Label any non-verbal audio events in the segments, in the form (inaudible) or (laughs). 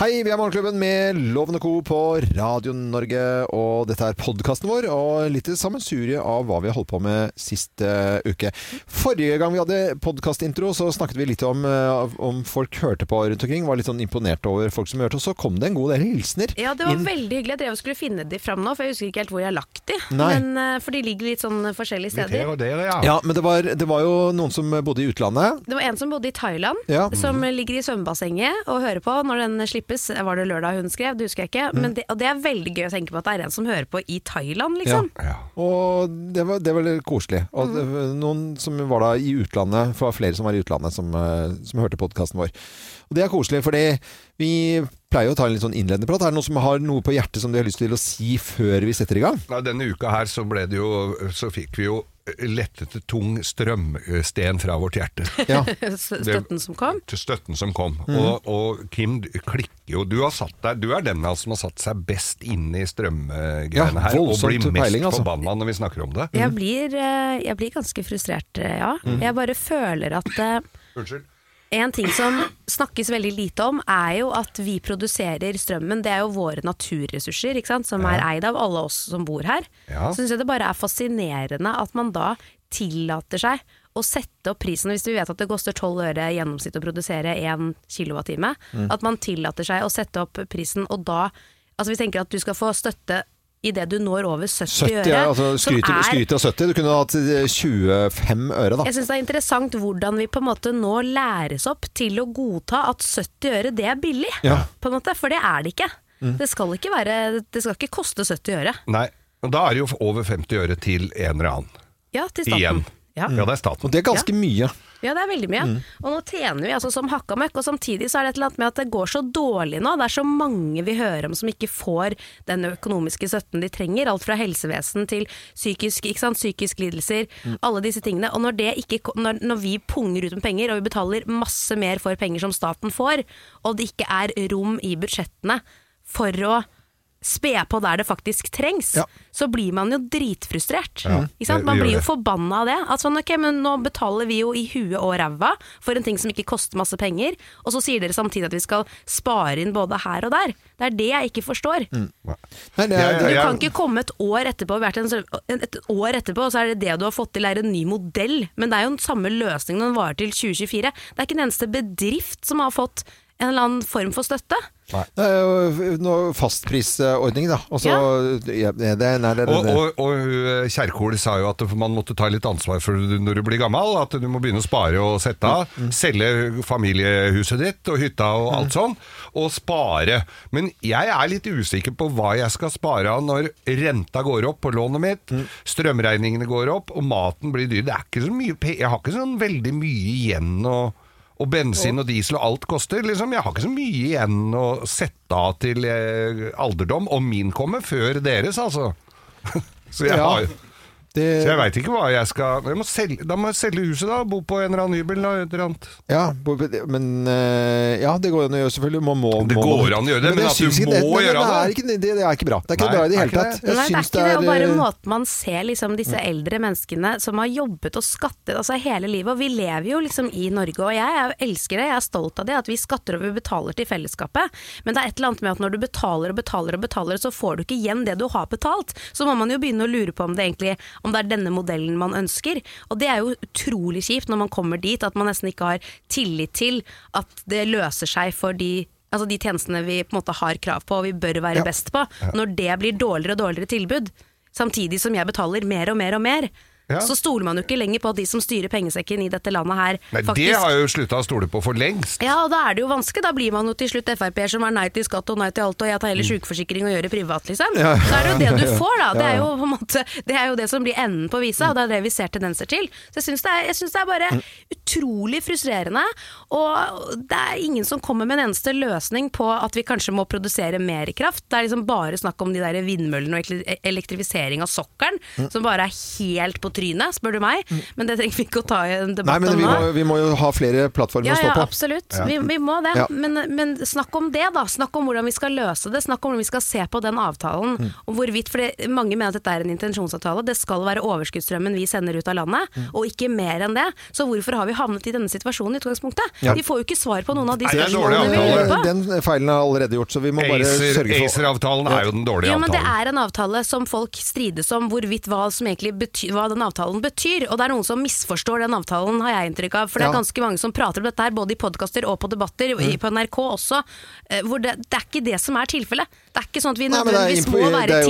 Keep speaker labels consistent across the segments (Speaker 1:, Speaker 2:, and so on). Speaker 1: Hei, vi er Morgenklubben med Lovende Co. på Radio Norge. Og dette er podkasten vår, og litt sammensurie av hva vi har holdt på med sist eh, uke. Forrige gang vi hadde podkastintro, så snakket vi litt om eh, om folk hørte på rundt omkring. Var litt sånn imponert over folk som hørte, og så kom det en god del hilsener.
Speaker 2: Ja, det var
Speaker 1: inn.
Speaker 2: veldig hyggelig. Jeg drev og skulle finne de fram nå, for jeg husker ikke helt hvor jeg har lagt de.
Speaker 1: Nei.
Speaker 2: Men, eh, for de ligger litt sånn forskjellige
Speaker 3: Litt her
Speaker 2: steder.
Speaker 3: og der, ja.
Speaker 1: Ja, men det var, det var jo noen som bodde i utlandet.
Speaker 2: Det var en som bodde i Thailand,
Speaker 1: Ja.
Speaker 2: som ligger i svømmebassenget og hører på når den slippes. Var det lørdag hun skrev? Det husker jeg ikke.
Speaker 1: Mhm.
Speaker 2: Men det, og det er veldig gøy å tenke på at det er en som hører på i Thailand, liksom.
Speaker 3: Ja.
Speaker 1: Og det var, det var litt koselig. Og
Speaker 2: Mhm.
Speaker 1: det, var noen som var da i utlandet, for det var flere som var i utlandet som, eh, som hørte podkasten vår. Og det er koselig, fordi vi pleier jo å ta en litt sånn innledende prat. Er det noen som har noe på hjertet som de har lyst til å si før vi setter i
Speaker 2: (laughs)
Speaker 1: gang?
Speaker 3: Ja, Denne uka her så ble det jo Så fikk vi jo lettete tung strømsten fra vårt
Speaker 2: (laughs)
Speaker 3: hjerte.
Speaker 1: Ja.
Speaker 2: S- Støtten som kom. Mhm.
Speaker 3: Til støtten som kom. Og, og Kim du klikker jo. Du, har satt deg, du er den av oss som har satt seg best inn i
Speaker 1: Ja,
Speaker 3: strømgreiene her, og
Speaker 1: voldsomt
Speaker 3: blir mest
Speaker 1: peiling, altså.
Speaker 3: forbanna når vi snakker om det.
Speaker 1: Mhm.
Speaker 2: Jeg blir, eh, jeg blir ganske frustrert, eh, ja. Jeg bare føler at eh,
Speaker 3: Unnskyld.
Speaker 2: En ting som snakkes veldig lite om, er jo at vi produserer strømmen. Det er jo våre naturressurser, ikke sant? som er eid av alle oss som bor her.
Speaker 3: Ja.
Speaker 2: Så syns jeg det bare er fascinerende at man da tillater seg å sette opp prisen, hvis vi vet at det koster 12 øre i gjennomsnitt å produsere 1 kilowattime.
Speaker 1: Mm.
Speaker 2: At man tillater seg å sette opp prisen, og da Altså vi tenker at du skal få støtte idet du når over 70,
Speaker 1: 70,
Speaker 2: øre.
Speaker 1: ja, altså
Speaker 2: som
Speaker 1: skryter,
Speaker 2: er-
Speaker 1: skryter av 70. Du kunne hatt eh, 25 øre, da.
Speaker 2: jeg syns det er interessant hvordan vi på en måte nå læres opp til å godta at 70 øre det er billig,
Speaker 1: Ja.
Speaker 2: på en måte, for det er det ikke. Det, skal ikke være, det skal ikke koste 70 øre.
Speaker 3: Nei. men Da er det jo over 50 øre til en eller annen.
Speaker 2: Ja, til
Speaker 3: Igjen.
Speaker 2: staten. Ja.
Speaker 3: Ja, det er
Speaker 1: Og
Speaker 3: staten.
Speaker 1: det er ganske mye.
Speaker 2: ja, det er veldig
Speaker 3: Mm.
Speaker 2: mye. Og nå tjener vi altså som hakka møkk, og samtidig så er det et eller annet med at det går så dårlig nå. Det er så mange vi hører om som ikke får den økonomiske støtten de trenger. Alt fra helsevesen til psykisk, ikke sant? psykisk lidelser,
Speaker 3: Mm.
Speaker 2: alle disse tingene. Og når, det ikke, ko- når, når vi punger ut med penger, og vi betaler masse mer for penger som staten får, og det ikke er rom i budsjettene for å spe på der det faktisk trengs,
Speaker 1: Ja.
Speaker 2: så blir man jo dritfrustrert.
Speaker 3: Ja,
Speaker 2: Ikke sant?
Speaker 3: det-
Speaker 2: Man
Speaker 3: det gjør
Speaker 2: blir jo
Speaker 3: det.
Speaker 2: forbanna av det. At sånn, ok, men nå betaler vi jo i huet og ræva for en ting som ikke koster masse penger, og så sier dere samtidig at vi skal spare inn både her og der. Det er det jeg ikke forstår.
Speaker 3: Nei.
Speaker 1: Nei, det er,
Speaker 3: Mm. Ja,
Speaker 2: Du
Speaker 3: ja,
Speaker 2: kan ikke komme et år etterpå, vært en, et år etterpå, og så er det det du har fått til er en ny modell. Men det er jo den samme løsningen den varer til 2024. Det er ikke en eneste bedrift som har fått en eller annen form for støtte.
Speaker 1: det er jo nå fastprisordning, da. Og så ja. det, nei, det, det,
Speaker 3: Og,
Speaker 1: det.
Speaker 3: og, og hun, eh, Kjerkol sa jo at man måtte ta litt ansvar for det når du blir gammel. At du må begynne å spare og sette av.
Speaker 1: Mm,
Speaker 3: Selge familiehuset ditt og hytta og alt sånn. Og spare. Men jeg er litt usikker på hva jeg skal spare av når renta går opp på lånet mitt,
Speaker 1: Mm.
Speaker 3: strømregningene går opp og maten blir dyr. Det er ikke så mye pe Jeg har ikke sånn veldig mye igjen å og bensin og diesel og alt koster. Liksom. Jeg har ikke så mye igjen å sette av til eh, alderdom, og min kommer før deres, altså. Så jeg,
Speaker 1: Ja.
Speaker 3: har- så
Speaker 1: det
Speaker 3: jeg veit ikke hva jeg skal jeg må selge, Da må jeg selge huset, da. og Bo på en eller annen hybel. Da, et eller annet.
Speaker 1: Ja, bo- men eh, Ja, det går an å gjøre, selvfølgelig. Man må,
Speaker 3: Det
Speaker 1: må,
Speaker 3: går an å gjøre det, men at
Speaker 1: jeg
Speaker 3: du
Speaker 1: syns ikke
Speaker 3: må
Speaker 1: nei, nei,
Speaker 3: gjøre
Speaker 1: det.
Speaker 3: det.
Speaker 1: Er ikke, det, det er ikke bra. Det er ikke
Speaker 3: Nei,
Speaker 1: bra i det
Speaker 3: er
Speaker 1: hele
Speaker 3: ikke
Speaker 1: tatt. Jeg
Speaker 3: det.
Speaker 2: Nei, det er
Speaker 1: syns
Speaker 2: ikke det, og bare
Speaker 1: eh,
Speaker 2: måten man ser liksom, disse
Speaker 1: Mm.
Speaker 2: eldre menneskene som har jobbet og skattet altså, hele livet. Og vi lever jo liksom i Norge, og jeg er- elsker det, jeg er stolt av det, at vi skatter og vi betaler til fellesskapet. Men det er et eller annet med at når du betaler og betaler og betaler, så får du ikke igjen det du har betalt. Så må man jo begynne å lure på om det egentlig om det er denne modellen man ønsker. Og det er jo utrolig kjipt når man kommer dit at man nesten ikke har tillit til at det løser seg for de Altså de tjenestene vi på en måte har krav på og vi bør være
Speaker 1: Ja.
Speaker 2: best på. Når det blir dårligere og dårligere tilbud, samtidig som jeg betaler mer og mer og mer,
Speaker 3: Ja.
Speaker 2: så stoler man jo ikke lenger på at de som styrer pengesekken i dette landet her,
Speaker 3: Nei, det
Speaker 2: faktisk
Speaker 3: har jeg jo slutta å stole på for lengst.
Speaker 2: ja, og da er det jo vanskelig. Da blir man jo til slutt Frp-er som er nei til skatt og nei til alt, og jeg tar heller
Speaker 1: Mm.
Speaker 2: sykeforsikring og gjør det privat, liksom. Så er det
Speaker 1: (laughs)
Speaker 2: jo det du får, da. Det er jo, på en måte, det, er jo det som blir enden på visa, og det er det vi ser tendenser til. Så jeg syns det, er- jeg synes det er bare
Speaker 1: Mm.
Speaker 2: utrolig frustrerende, og det er ingen som kommer med en eneste løsning på at vi kanskje må produsere mer kraft.
Speaker 1: Mm.
Speaker 2: Det er liksom bare snakk om de der vindmøllene og elektri- elektrifisering av sokkelen, som bare er helt på trynet, spør du meg. Men det trenger vi ikke å ta i en
Speaker 1: Nei,
Speaker 2: debatt
Speaker 1: men
Speaker 2: om
Speaker 1: vi
Speaker 2: nå.
Speaker 1: må, vi må jo ha flere plattformer
Speaker 2: Ja,
Speaker 1: å
Speaker 2: ja,
Speaker 1: stå på.
Speaker 2: absolutt.
Speaker 1: Ja.
Speaker 2: Vi, vi må det.
Speaker 1: Ja.
Speaker 2: Men, men snakk om det, da. Snakk om hvordan vi skal løse det. Snakk om hvordan vi skal se på den avtalen.
Speaker 3: Mm.
Speaker 2: Og hvorvidt, for det, Mange mener at dette er en intensjonsavtale. Det skal være overskuddsstrømmen vi sender ut av landet,
Speaker 3: Mm.
Speaker 2: og ikke mer enn det. Så hvorfor har vi havnet i denne situasjonen i utgangspunktet?
Speaker 1: Ja.
Speaker 2: Vi får jo ikke svar på noen av de
Speaker 3: Nei, det er en
Speaker 2: spørsmålene
Speaker 3: dårlig
Speaker 2: vi
Speaker 3: avtale.
Speaker 2: lurer på.
Speaker 1: Den feilen er allerede gjort, så vi må bare
Speaker 3: Acer-
Speaker 1: sørge for
Speaker 3: Acer-avtalen er jo den dårlige
Speaker 2: Jo, men det
Speaker 3: avtalen.
Speaker 2: er en avtale som folk strides om hvorvidt hva, som egentlig bety hva den avtalen betyr. Og det er noen som misforstår den avtalen, har jeg inntrykk av. For det
Speaker 1: Ja. Mm.
Speaker 2: er ganske mange som prater om dette her, både i podkaster og på debatter, i- på NRK også. eh, Hvor det, det er ikke det som er tilfellet. Det er ikke sånn at vi
Speaker 1: Nei, men det er
Speaker 2: nødvendigvis
Speaker 1: info-
Speaker 2: må
Speaker 1: det
Speaker 2: være
Speaker 1: er jo-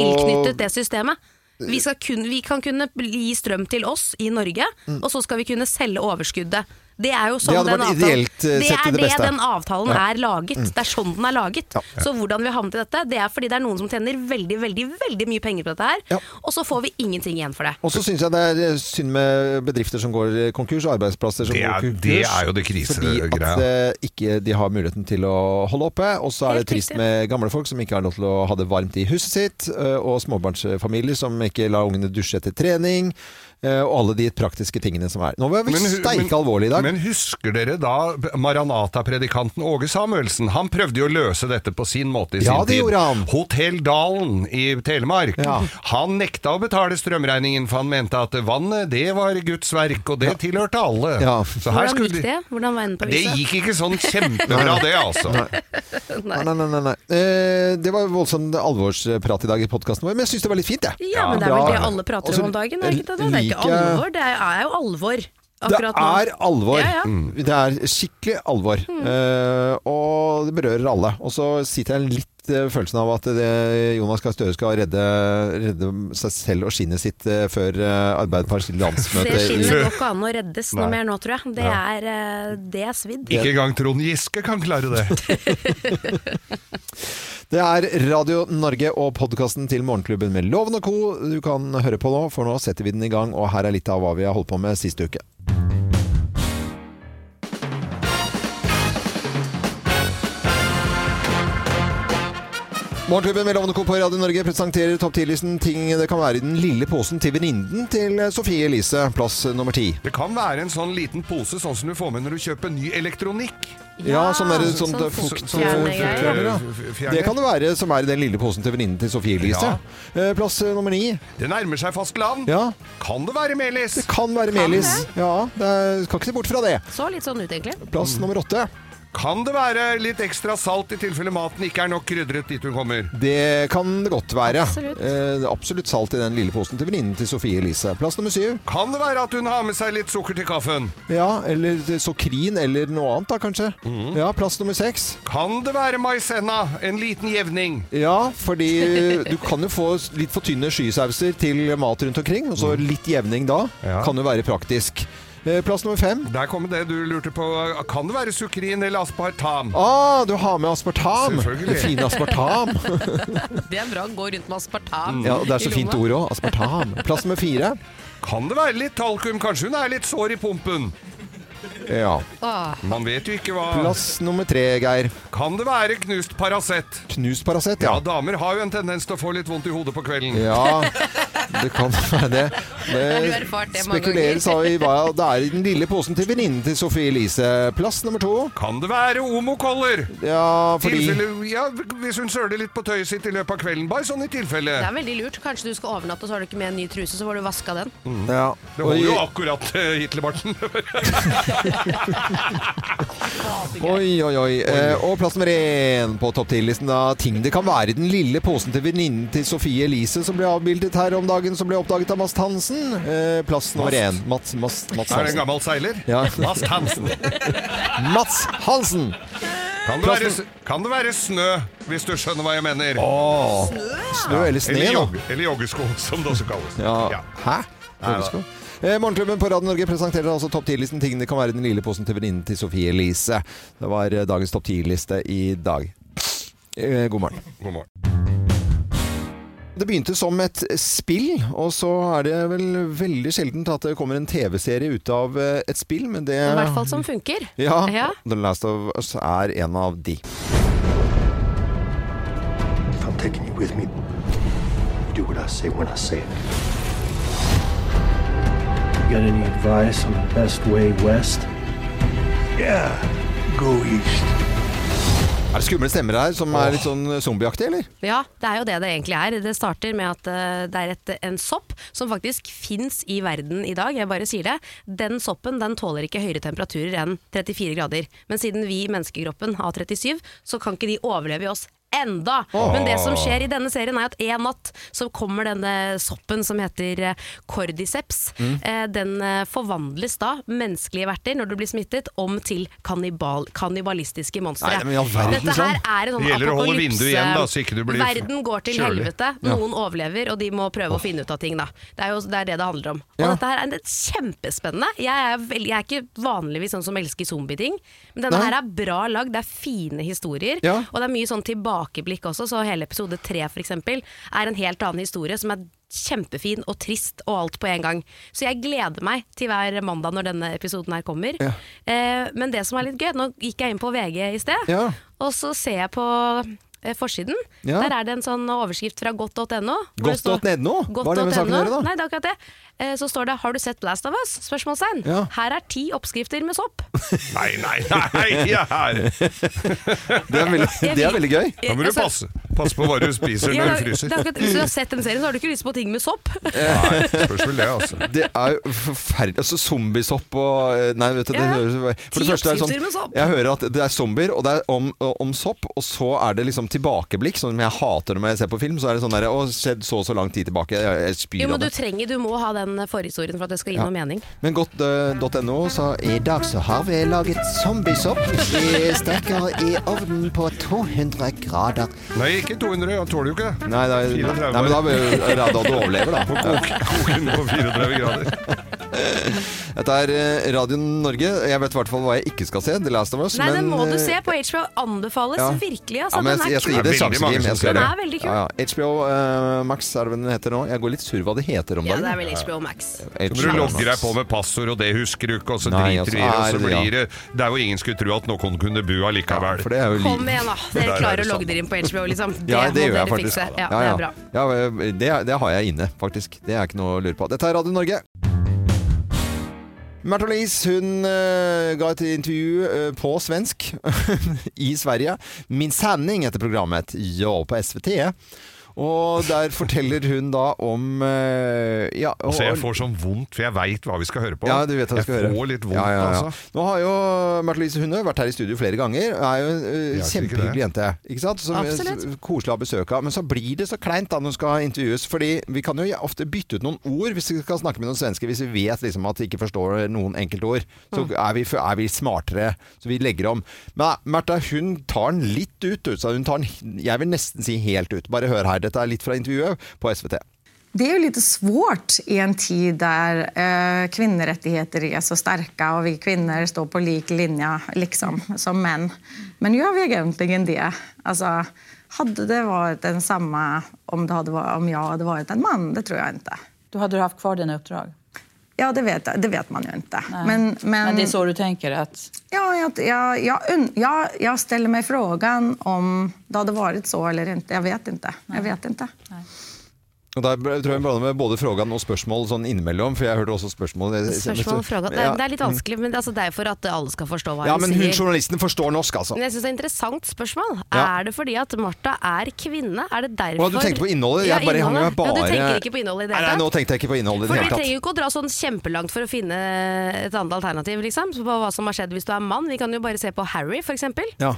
Speaker 2: tilknyttet det systemet. Vi, skal kun, vi kan kunne gi strøm til oss i Norge, og så skal vi kunne selge overskuddet. Det er jo sånn
Speaker 1: Mm. hadde vært
Speaker 2: den avtalen-
Speaker 1: ideelt, eh,
Speaker 2: Det
Speaker 1: sett i
Speaker 2: er
Speaker 1: det
Speaker 2: det
Speaker 1: beste.
Speaker 2: den avtalen er laget. Det er sånn den er laget.
Speaker 1: Mm. Ja.
Speaker 2: Så hvordan vi har havnet i dette, det er fordi det er noen som tjener veldig, veldig veldig mye penger på dette her,
Speaker 1: Ja.
Speaker 2: og så får vi ingenting igjen for det.
Speaker 1: Og så syns jeg det er eh, synd med bedrifter som går konkurs, og arbeidsplasser som
Speaker 3: Det er-
Speaker 1: går konkurs.
Speaker 3: det er jo det krise-
Speaker 1: Fordi at
Speaker 3: greia.
Speaker 1: eh, ikke de har muligheten til å holde oppe. Og så er
Speaker 2: Helt
Speaker 1: det trist
Speaker 2: riktig.
Speaker 1: med gamle folk som ikke har lov til å ha det varmt i huset sitt, eh, og småbarnsfamilier som ikke lar ungene dusje etter trening, eh, og alle de praktiske tingene som er. Nå var vi
Speaker 3: Men-
Speaker 1: steike
Speaker 3: men-
Speaker 1: alvorlige i dag.
Speaker 3: Men husker dere da Maranata-predikanten Åge Samuelsen? Han prøvde jo å løse dette på sin måte i
Speaker 1: Ja,
Speaker 3: sin
Speaker 1: det
Speaker 3: tid.
Speaker 1: gjorde han.
Speaker 3: Hotell Dalen i Telemark.
Speaker 1: Ja.
Speaker 3: Han nekta å betale strømregningen, for han mente at vannet det var Guds verk, og det tilhørte alle.
Speaker 1: Ja.
Speaker 3: Så her
Speaker 2: Hvordan
Speaker 3: skulle
Speaker 2: gikk
Speaker 3: de-
Speaker 2: det? Hvordan var enden på
Speaker 3: Det
Speaker 2: viset?
Speaker 3: gikk ikke sånn kjempebra, det altså.
Speaker 1: Nei, nei, nei, nei, nei. Eh, Det var voldsom alvorsprat i dag i podkasten vår, men jeg syns det var litt fint, jeg.
Speaker 2: Ja, men det er
Speaker 1: Ja,
Speaker 2: vel det
Speaker 1: ja. Altså,
Speaker 2: alle prater
Speaker 1: Og så
Speaker 2: om om dagen, er det ikke det? Det er ikke
Speaker 1: liker jeg-
Speaker 2: alvor, det er er jo alvor akkurat nå.
Speaker 1: Det er alvor.
Speaker 2: Ja, Mm. ja.
Speaker 1: Mm. Det er skikkelig alvor. Eh, og det berører alle. Og så sitter jeg litt eh, følelsen av at det, Jonas Gahr Støre skal redde, redde seg selv og skinnet sitt eh, før uh, Arbeiderpartiets landsmøte.
Speaker 2: Det skinnet
Speaker 1: i-
Speaker 2: går ikke an å reddes
Speaker 3: Nei.
Speaker 2: noe mer nå, tror jeg. Det er, eh, det er svidd.
Speaker 3: Ikke engang Trond Giske kan klare det.
Speaker 1: Det er Radio Norge og podkasten til Morgenklubben med Loven og Co. Du kan høre på nå, for nå setter vi den i gang. Og her er litt av hva vi har holdt på med siste uke. Morgenklubben med Lovende Co på Radio Norge presenterer topp 10-listen ting det kan være i den lille posen til venninnen til Sofie Elise, plass nummer ti.
Speaker 3: Det kan være en sånn liten pose, sånn som du får med når du kjøper ny elektronikk.
Speaker 1: Ja, sånn der- sånn
Speaker 2: sånn
Speaker 1: fukt-
Speaker 2: fuktfjernegreier.
Speaker 1: ja.
Speaker 3: Fjerner.
Speaker 1: Det kan det være som er i den lille posen til venninnen til Sofie Elise. Eh, Plass eh, nummer ni.
Speaker 3: Det nærmer seg fastland.
Speaker 1: Ja,
Speaker 3: Kan det være melis?
Speaker 1: Det kan være melis. Ja, det er, skal ikke se bort fra det.
Speaker 2: Så litt sånn ut, egentlig.
Speaker 1: Plass nummer åtte.
Speaker 3: Kan det være litt ekstra salt i tilfelle maten ikke er nok krydret dit hun kommer?
Speaker 1: Det kan det godt være.
Speaker 2: Absolutt.
Speaker 1: Eh, det er absolutt salt i den lille posen til venninnen til Sofie Elise. Plass nummer syv.
Speaker 3: Kan det være at hun har med seg litt sukker til kaffen?
Speaker 1: Ja, eller sokrin eller noe annet da, kanskje. Ja, Plass nummer seks.
Speaker 3: Kan det være maisenna? En liten jevning?
Speaker 1: Ja, fordi du kan jo få litt for tynne skysauser til mat rundt omkring, og så litt jevning da.
Speaker 3: Ja.
Speaker 1: Kan jo være praktisk. Eh, Plass nummer fem.
Speaker 3: Der kom det du lurte på. Kan det være sukrin eller aspartam?
Speaker 1: Ah, du har med aspartam!
Speaker 3: Selvfølgelig.
Speaker 1: Det fine aspartam.
Speaker 2: Det er bra å gå rundt med aspartam.
Speaker 1: (laughs) Ja, det er så fint ord òg. Aspartam. Plass nummer fire.
Speaker 3: Kan det være litt talkum? Kanskje hun er litt sår i pumpen?
Speaker 1: Ja.
Speaker 3: Man vet jo ikke hva
Speaker 1: Plass nummer tre, Geir.
Speaker 3: Kan det være knust Paracet?
Speaker 1: Knust Paracet,
Speaker 3: Ja,
Speaker 1: ja.
Speaker 3: damer har jo en tendens til å få litt vondt i hodet på kvelden.
Speaker 1: Ja, det kan (laughs) være det.
Speaker 2: du erfart det mange
Speaker 1: spekuleres av i hva det er i den lille posen til venninnen til Sofie Elise. Plass nummer to.
Speaker 3: Kan det være omokoller?
Speaker 1: Ja, fordi
Speaker 3: Tilfelle, ja, hvis hun søler litt på tøyet sitt i løpet av kvelden. Bare sånn i tilfelle.
Speaker 2: Det er veldig lurt. Kanskje du skal overnatte, og så har du ikke med en ny truse, så får du vaska den.
Speaker 1: ja.
Speaker 3: Det
Speaker 1: Og
Speaker 3: holder jo
Speaker 1: i-
Speaker 3: akkurat eh, (laughs) Hitlerbarten.
Speaker 1: Oi, oi, oi. Eh, og plass nummer én på topp 10-listen av ting det kan være i den lille posen til venninnen til Sofie Elise som ble avbildet her om dagen, som ble oppdaget av Mast Hansen. Eh, plass nummer én. Mats, Mats, Mats
Speaker 3: Er det en
Speaker 1: Hansen.
Speaker 3: gammel seiler?
Speaker 1: Sånn. Ja.
Speaker 3: Mast
Speaker 1: (laughs)
Speaker 3: Hansen.
Speaker 1: Mats Hansen!
Speaker 3: Kan det, være, kan det være snø, hvis du skjønner hva jeg mener?
Speaker 1: Snø eller sne,
Speaker 3: eller,
Speaker 1: da.
Speaker 3: jogge, eller joggesko, som det også kalles.
Speaker 1: Ja.
Speaker 3: Ja.
Speaker 1: Hæ? Joggesko? Eh, Morgenklubben på Radio Norge presenterer altså topp 10-listen ting det kan være i den lille posen til venninnen til Sofie Elise. Det var eh, dagens topp 10-liste i dag. Eh, God morgen.
Speaker 3: God morgen.
Speaker 1: Det begynte som et spill, og så er det vel veldig sjeldent at det kommer en TV-serie ut av eh, et spill, men det
Speaker 2: I hvert fall som funker.
Speaker 1: Ja,
Speaker 2: Ja.
Speaker 1: The Last of Us er en av de.
Speaker 4: I'm taking you with me. You do what I say when I say it. got any advice on the best way west? Yeah, go east.
Speaker 1: Er det skumle stemmer her som er litt sånn zombieaktig, eller?
Speaker 2: Ja, det er jo det det egentlig er. Det starter med at eh, det er et, en sopp som faktisk fins i verden i dag, jeg bare sier det. Den soppen den tåler ikke høyere temperaturer enn 34 grader. Men siden vi i menneskekroppen har 37, så kan ikke de overleve i oss. Enda! Men det som skjer i denne serien er at en natt så kommer denne soppen som heter eh, cordyceps.
Speaker 1: Mm.
Speaker 2: Eh, Den eh, forvandles da, menneskelige verter, når du blir smittet, om til kannibal, kannibalistiske monstre.
Speaker 1: Nei, men i all verden,
Speaker 2: Dette
Speaker 1: sånn.
Speaker 2: her er en sånn
Speaker 3: Det gjelder å holde
Speaker 2: apokalypse-
Speaker 3: vinduet igjen, da, så ikke du blir
Speaker 2: Verden går til
Speaker 3: kjølig.
Speaker 2: helvete. Noen overlever, og de må prøve å finne ut av ting. Da. Det er jo det er det det handler om. Og
Speaker 1: Ja.
Speaker 2: dette her er det er kjempespennende. Jeg er, vel- jeg er ikke vanligvis sånn som elsker zombieting, men denne
Speaker 1: Nei.
Speaker 2: her er bra lagd. Det er fine historier,
Speaker 1: Ja.
Speaker 2: og det er mye sånn tilbakeblikk også. Så hele episode tre for eksempel er en helt annen historie som er kjempefin og trist og alt på en gang. Så jeg gleder meg til hver mandag når denne episoden her kommer.
Speaker 1: Ja.
Speaker 2: Eh, men det som er litt gøy, nå gikk jeg inn på VG i sted.
Speaker 1: Ja.
Speaker 2: Og så ser jeg på eh, forsiden.
Speaker 1: Ja.
Speaker 2: Der er det en sånn overskrift fra godt.no. hvor det står-
Speaker 1: Godt.no? Hva har det med saken å
Speaker 2: godt.no?
Speaker 1: gjøre, da?
Speaker 2: Nei, det er akkurat det. Eh, Så står det 'Har du sett Last of Us?' Spørsmålstegn.
Speaker 1: Ja.
Speaker 2: Her er ti oppskrifter med sopp.
Speaker 3: Nei, nei, nei! jeg
Speaker 2: (laughs)
Speaker 3: er-
Speaker 1: Det er veldig,
Speaker 2: Jeg-
Speaker 1: det er veldig gøy.
Speaker 3: (laughs) Da må du passe, passe på hva du spiser
Speaker 2: Eh, altså, Ja,
Speaker 3: når
Speaker 2: det
Speaker 3: du
Speaker 2: er-
Speaker 3: fryser.
Speaker 2: det er akkurat, hvis du har sett den serien, så har du ikke lyst på ting
Speaker 3: (laughs)
Speaker 2: med sopp.
Speaker 3: Nei, spørs vel det, altså.
Speaker 1: Det er jo forferdelig Altså Zombiesopp og eh, Nei, vet du, det
Speaker 2: Ja.
Speaker 1: høres For
Speaker 2: Ti
Speaker 1: det første er det
Speaker 2: oppskrifter med
Speaker 1: sånn
Speaker 2: sopp.
Speaker 1: Jeg hører at det er zombier, og det er om, om sopp, og så er det liksom tilbakeblikk, som jeg hater når jeg ser på film. Så er det sånn derre Å, skjedd så og så lang tid tilbake. Jeg, jeg
Speaker 2: Jo,
Speaker 1: spyr
Speaker 2: men
Speaker 1: av
Speaker 2: du
Speaker 1: det.
Speaker 2: trenger, du må ha den forhistorien for at det skal gi
Speaker 1: Ja.
Speaker 2: noe mening.
Speaker 1: Men eh, godt.no sa i dag så har vi laget zombiesopp. Vi steker i ovnen på 200 grader.
Speaker 3: Nei, ikke 200, han tåler jo ikke det.
Speaker 1: Nei, nei, nei,
Speaker 3: 34
Speaker 1: men da er det at du overlever, da.
Speaker 3: På kok- kokende på 34 grader.
Speaker 1: Dette er eh, Radio Norge. Jeg vet i hvert fall hva jeg ikke skal se. The Last of Us.
Speaker 2: Nei, den
Speaker 1: men,
Speaker 2: må du
Speaker 1: eh,
Speaker 2: se på HBO. Anbefales
Speaker 1: ja.
Speaker 2: virkelig. Altså,
Speaker 1: Ja, men
Speaker 2: den
Speaker 1: jeg,
Speaker 2: er
Speaker 1: jeg skal gi
Speaker 2: kul.
Speaker 1: det
Speaker 3: Det er veldig
Speaker 1: sjansen,
Speaker 3: mange
Speaker 1: Jim.
Speaker 3: som
Speaker 1: Jeg skal
Speaker 3: ser
Speaker 1: gjøre
Speaker 2: det. Den er veldig kul.
Speaker 1: Ja, ja. HBO eh, Max er det vel den heter nå. Jeg går litt surr hva det heter om
Speaker 2: Ja,
Speaker 1: dagen.
Speaker 2: det er vel HBO Max.
Speaker 1: HBO
Speaker 3: Når du
Speaker 1: Max.
Speaker 3: logger deg på med passord, og det husker du ikke, og så
Speaker 1: Nei,
Speaker 3: driter du i det,
Speaker 1: altså,
Speaker 3: og
Speaker 1: er det,
Speaker 3: så
Speaker 1: ja.
Speaker 3: blir det Det er jo ingen skulle tro at noen kunne bo allikevel.
Speaker 1: For det er jo
Speaker 2: Kom
Speaker 1: liv.
Speaker 2: igjen, da.
Speaker 3: Der
Speaker 2: Dere
Speaker 3: er
Speaker 2: klarer
Speaker 3: det
Speaker 2: å
Speaker 3: sant.
Speaker 2: logge dere inn på HBO, liksom. Det,
Speaker 1: Ja, det
Speaker 2: må
Speaker 1: gjør jeg
Speaker 2: dere
Speaker 1: faktisk.
Speaker 2: fikse. Ja,
Speaker 1: Ja,
Speaker 2: det
Speaker 1: ja.
Speaker 2: er bra.
Speaker 1: Ja, eh, det, det har jeg inne, faktisk. Det er ikke noe å lure på. Dette er Radio Norge. Märtha Louise hun eh, ga et intervju eh, på svensk (laughs) i Sverige. Min sanning heter programmet. Ja, på SVT. Og der forteller hun da om eh, ja,
Speaker 3: Altså,
Speaker 1: og-
Speaker 3: jeg får sånn vondt, for jeg veit hva vi skal høre på.
Speaker 1: Ja, du vet hva du
Speaker 3: jeg
Speaker 1: skal høre.
Speaker 3: får litt vondt,
Speaker 1: Ja, ja, ja.
Speaker 3: altså.
Speaker 1: Nå har jo Märtha Louise Hunde vært her i studio flere ganger. Er jo en eh,
Speaker 3: Ja, sikkert
Speaker 1: kjempehyggelig jente. Ikke sant? Som er
Speaker 2: Absolutt.
Speaker 1: s- koselig å ha besøk av. Men så blir det så kleint da når hun skal intervjues. Fordi vi kan jo ofte bytte ut noen ord hvis vi skal snakke med noen svensker. Hvis vi vet liksom at de ikke forstår noen enkeltord, så er vi, er vi smartere. Så vi legger om. Men Märtha, hun tar den litt ut. du. Så hun tar den, jeg vil nesten si helt ut. Bare hør her. Dette er litt fra intervjuet på SVT.
Speaker 5: Det är ju lite svårt i en tid där eh, kvinnorättigheter är så starka och vi kvinnor står på lik linje liksom, som män. Men gör vi egentligen det? Alltså, hade det varit en samma om, det hade varit, om jag hade varit en man? Det tror jag inte.
Speaker 6: Då hade du haft kvar dina uppdrag?
Speaker 5: Ja, det vet, det vet man ju inte.
Speaker 6: Nej.
Speaker 5: Men, men,
Speaker 6: det är så du tänker? Att,
Speaker 5: Ja, jag, jag, jag, und- jag, jag ställer mig frågan om det hade varit så eller inte. Jag vet inte. Jag vet inte.
Speaker 1: Og Der tror jeg hun blander med både frågan og spørsmål sånn innimellom, for jeg hørte også spørsmål.
Speaker 2: Spørsmål og fråga. Det, er- det er litt vanskelig, men altså, det er jo for at alle skal forstå
Speaker 1: Mm.
Speaker 2: hva
Speaker 1: Ja,
Speaker 2: hun
Speaker 1: men hun
Speaker 2: sier.
Speaker 1: journalisten forstår norsk, altså.
Speaker 2: Men jeg synes det er et interessant spørsmål.
Speaker 1: Ja.
Speaker 2: Er det fordi at Martha er kvinne? Er det derfor
Speaker 1: Å, du tenkte på innholdet? Jeg bare hang meg bare
Speaker 2: Ja, du tenker ikke på innholdet i det
Speaker 1: Nei, nei,
Speaker 2: hele
Speaker 1: nå
Speaker 2: tatt?
Speaker 1: tenkte jeg ikke på innholdet i
Speaker 2: For
Speaker 1: det
Speaker 2: Vi
Speaker 1: hele
Speaker 2: trenger
Speaker 1: tatt.
Speaker 2: jo ikke å dra sånn kjempelangt for å finne et annet alternativ, liksom. På hva som har skjedd hvis du er mann. Vi kan jo bare se på Harry, for eksempel.
Speaker 1: Ja.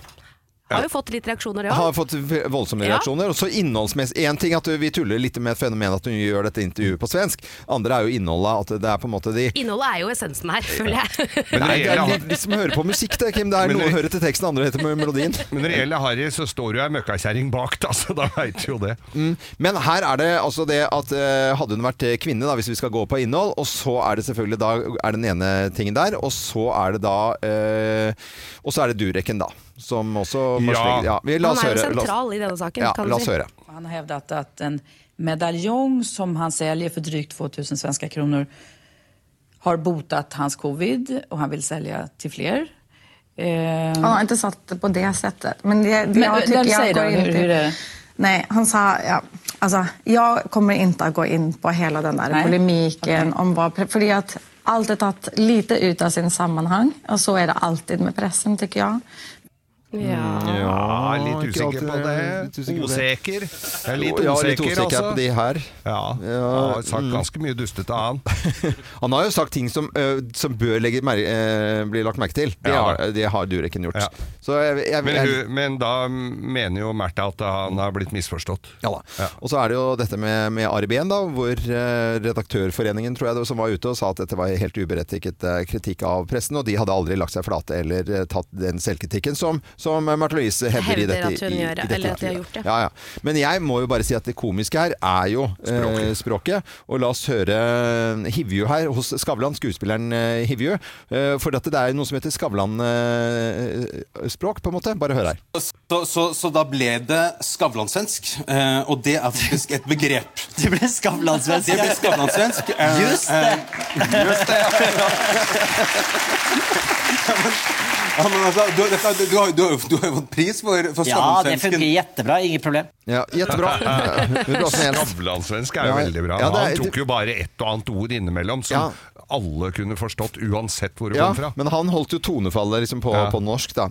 Speaker 2: Har jo fått litt reaksjoner, det
Speaker 1: Har
Speaker 2: òg.
Speaker 1: fått voldsomme
Speaker 2: Ja.
Speaker 1: reaksjoner. Og så innholdsmessig Én ting at vi tuller litt med fenomenet at hun gjør dette intervjuet på svensk. Andre er jo innholdet, at det er på en måte de
Speaker 2: Innholdet er jo essensen her, føler jeg.
Speaker 3: Men
Speaker 1: Nei, det er
Speaker 3: reelle-
Speaker 1: litt de som hører på musikk, det, Kim. Det er
Speaker 3: Men
Speaker 1: noen
Speaker 3: det-
Speaker 1: hører til teksten, andre heter melodien.
Speaker 3: Men når det gjelder Harry, så står jo ei møkkakjerring bak, da, så da veit du jo det.
Speaker 1: Men her er det altså det at eh, hadde hun vært eh, kvinne, da, hvis vi skal gå på innhold, og så er det selvfølgelig da er den ene tingen der, og så er det da eh, Og så er det Dureken, da. Som også må
Speaker 3: Ja.
Speaker 1: slegge- ja vi, la
Speaker 2: Han
Speaker 1: oss
Speaker 2: er jo
Speaker 1: høre. La oss-
Speaker 2: sentral i denne saken,
Speaker 1: Ja,
Speaker 2: kan
Speaker 1: la
Speaker 2: du
Speaker 1: oss
Speaker 2: si.
Speaker 1: høre.
Speaker 6: han har hävdat att en medaljong som han säljer för drygt 2000 svenska kronor har botat hans covid och han vill sälja till fler. Eh,
Speaker 5: Han har inte satt det på det sättet. Men det, det
Speaker 6: Men,
Speaker 5: jag tycker
Speaker 6: den
Speaker 5: jag
Speaker 6: säger
Speaker 5: går
Speaker 6: då,
Speaker 5: in
Speaker 6: hur-
Speaker 5: till-
Speaker 6: hur är det?
Speaker 5: Nej, han sa... Ja, altså, alltså, jag kommer inte att gå in på hela den där
Speaker 6: Nej.
Speaker 5: polemiken om vad... För att Allt är tagit lite ut av sin sammanhang och så är det alltid med pressen tycker jag.
Speaker 2: Ja.
Speaker 3: Ja,
Speaker 1: ikke
Speaker 3: litt usikker på
Speaker 1: alltid, litt
Speaker 3: det.
Speaker 1: usikker på
Speaker 3: Oseker. Jeg er
Speaker 1: Ja,
Speaker 3: litt
Speaker 1: litt
Speaker 3: oseker,
Speaker 1: ossikker
Speaker 3: altså.
Speaker 1: på de her. mm.
Speaker 3: Ja, jeg har sagt ganske mye dustete av han.
Speaker 1: (laughs) Han har jo sagt ting som, ø, som bør legge, mer, ø, bli lagt merke til. Det
Speaker 3: Ja.
Speaker 1: har, det har Dureken gjort.
Speaker 3: Ja.
Speaker 1: Så jeg, jeg, jeg,
Speaker 3: Men, hun, men da mener jo Märtha at han har blitt misforstått.
Speaker 1: Ja da.
Speaker 3: Ja.
Speaker 1: Og så er det jo dette med, med Arben, da, hvor eh, redaktørforeningen tror jeg det, var, som var ute og sa at dette var helt uberettiget eh, kritikk av pressen, og de hadde aldri lagt seg flate eller eh, tatt den selvkritikken som, som Märtha Louise hevder, i
Speaker 2: Hevder
Speaker 1: dette.
Speaker 2: at hun
Speaker 1: i,
Speaker 2: gjør,
Speaker 1: i dette
Speaker 2: eller at de har
Speaker 1: intervjuet.
Speaker 2: gjort det.
Speaker 1: Ja, ja. Men jeg må jo bare si at det komiske her er jo eh, språket. Og la oss høre eh, Hivju her hos Skavlan, skuespilleren eh, Hivju. Eh, for dette, det er jo noe som heter Skavlan-språk, på en måte. Bare hør her.
Speaker 7: Så, så, så da ble det skavlansvensk, eh, og det er faktisk et
Speaker 8: (laughs)
Speaker 7: begrep.
Speaker 8: Du ble skavlansvensk.
Speaker 7: Det ble skavlansvensk. eh,
Speaker 8: Just det.
Speaker 7: eh, just det, ja. Ja, men altså, du, dette, du, du, har, du, har, jo- du har jo fått pris for, for
Speaker 8: Ja, det funker
Speaker 7: skavlansvensken.
Speaker 8: jättebra. Inget problem.
Speaker 1: Ja, Jettebra.
Speaker 3: Skavlansvensk er jo
Speaker 1: Ja,
Speaker 3: veldig bra.
Speaker 1: ja, det er-
Speaker 3: han tok jo bare ett og annet ord innimellom som alle kunne forstått, uansett hvor det
Speaker 1: Ja,
Speaker 3: kom fra.
Speaker 1: men han holdt jo tonefallet liksom på,
Speaker 3: Ja.
Speaker 1: på norsk, da.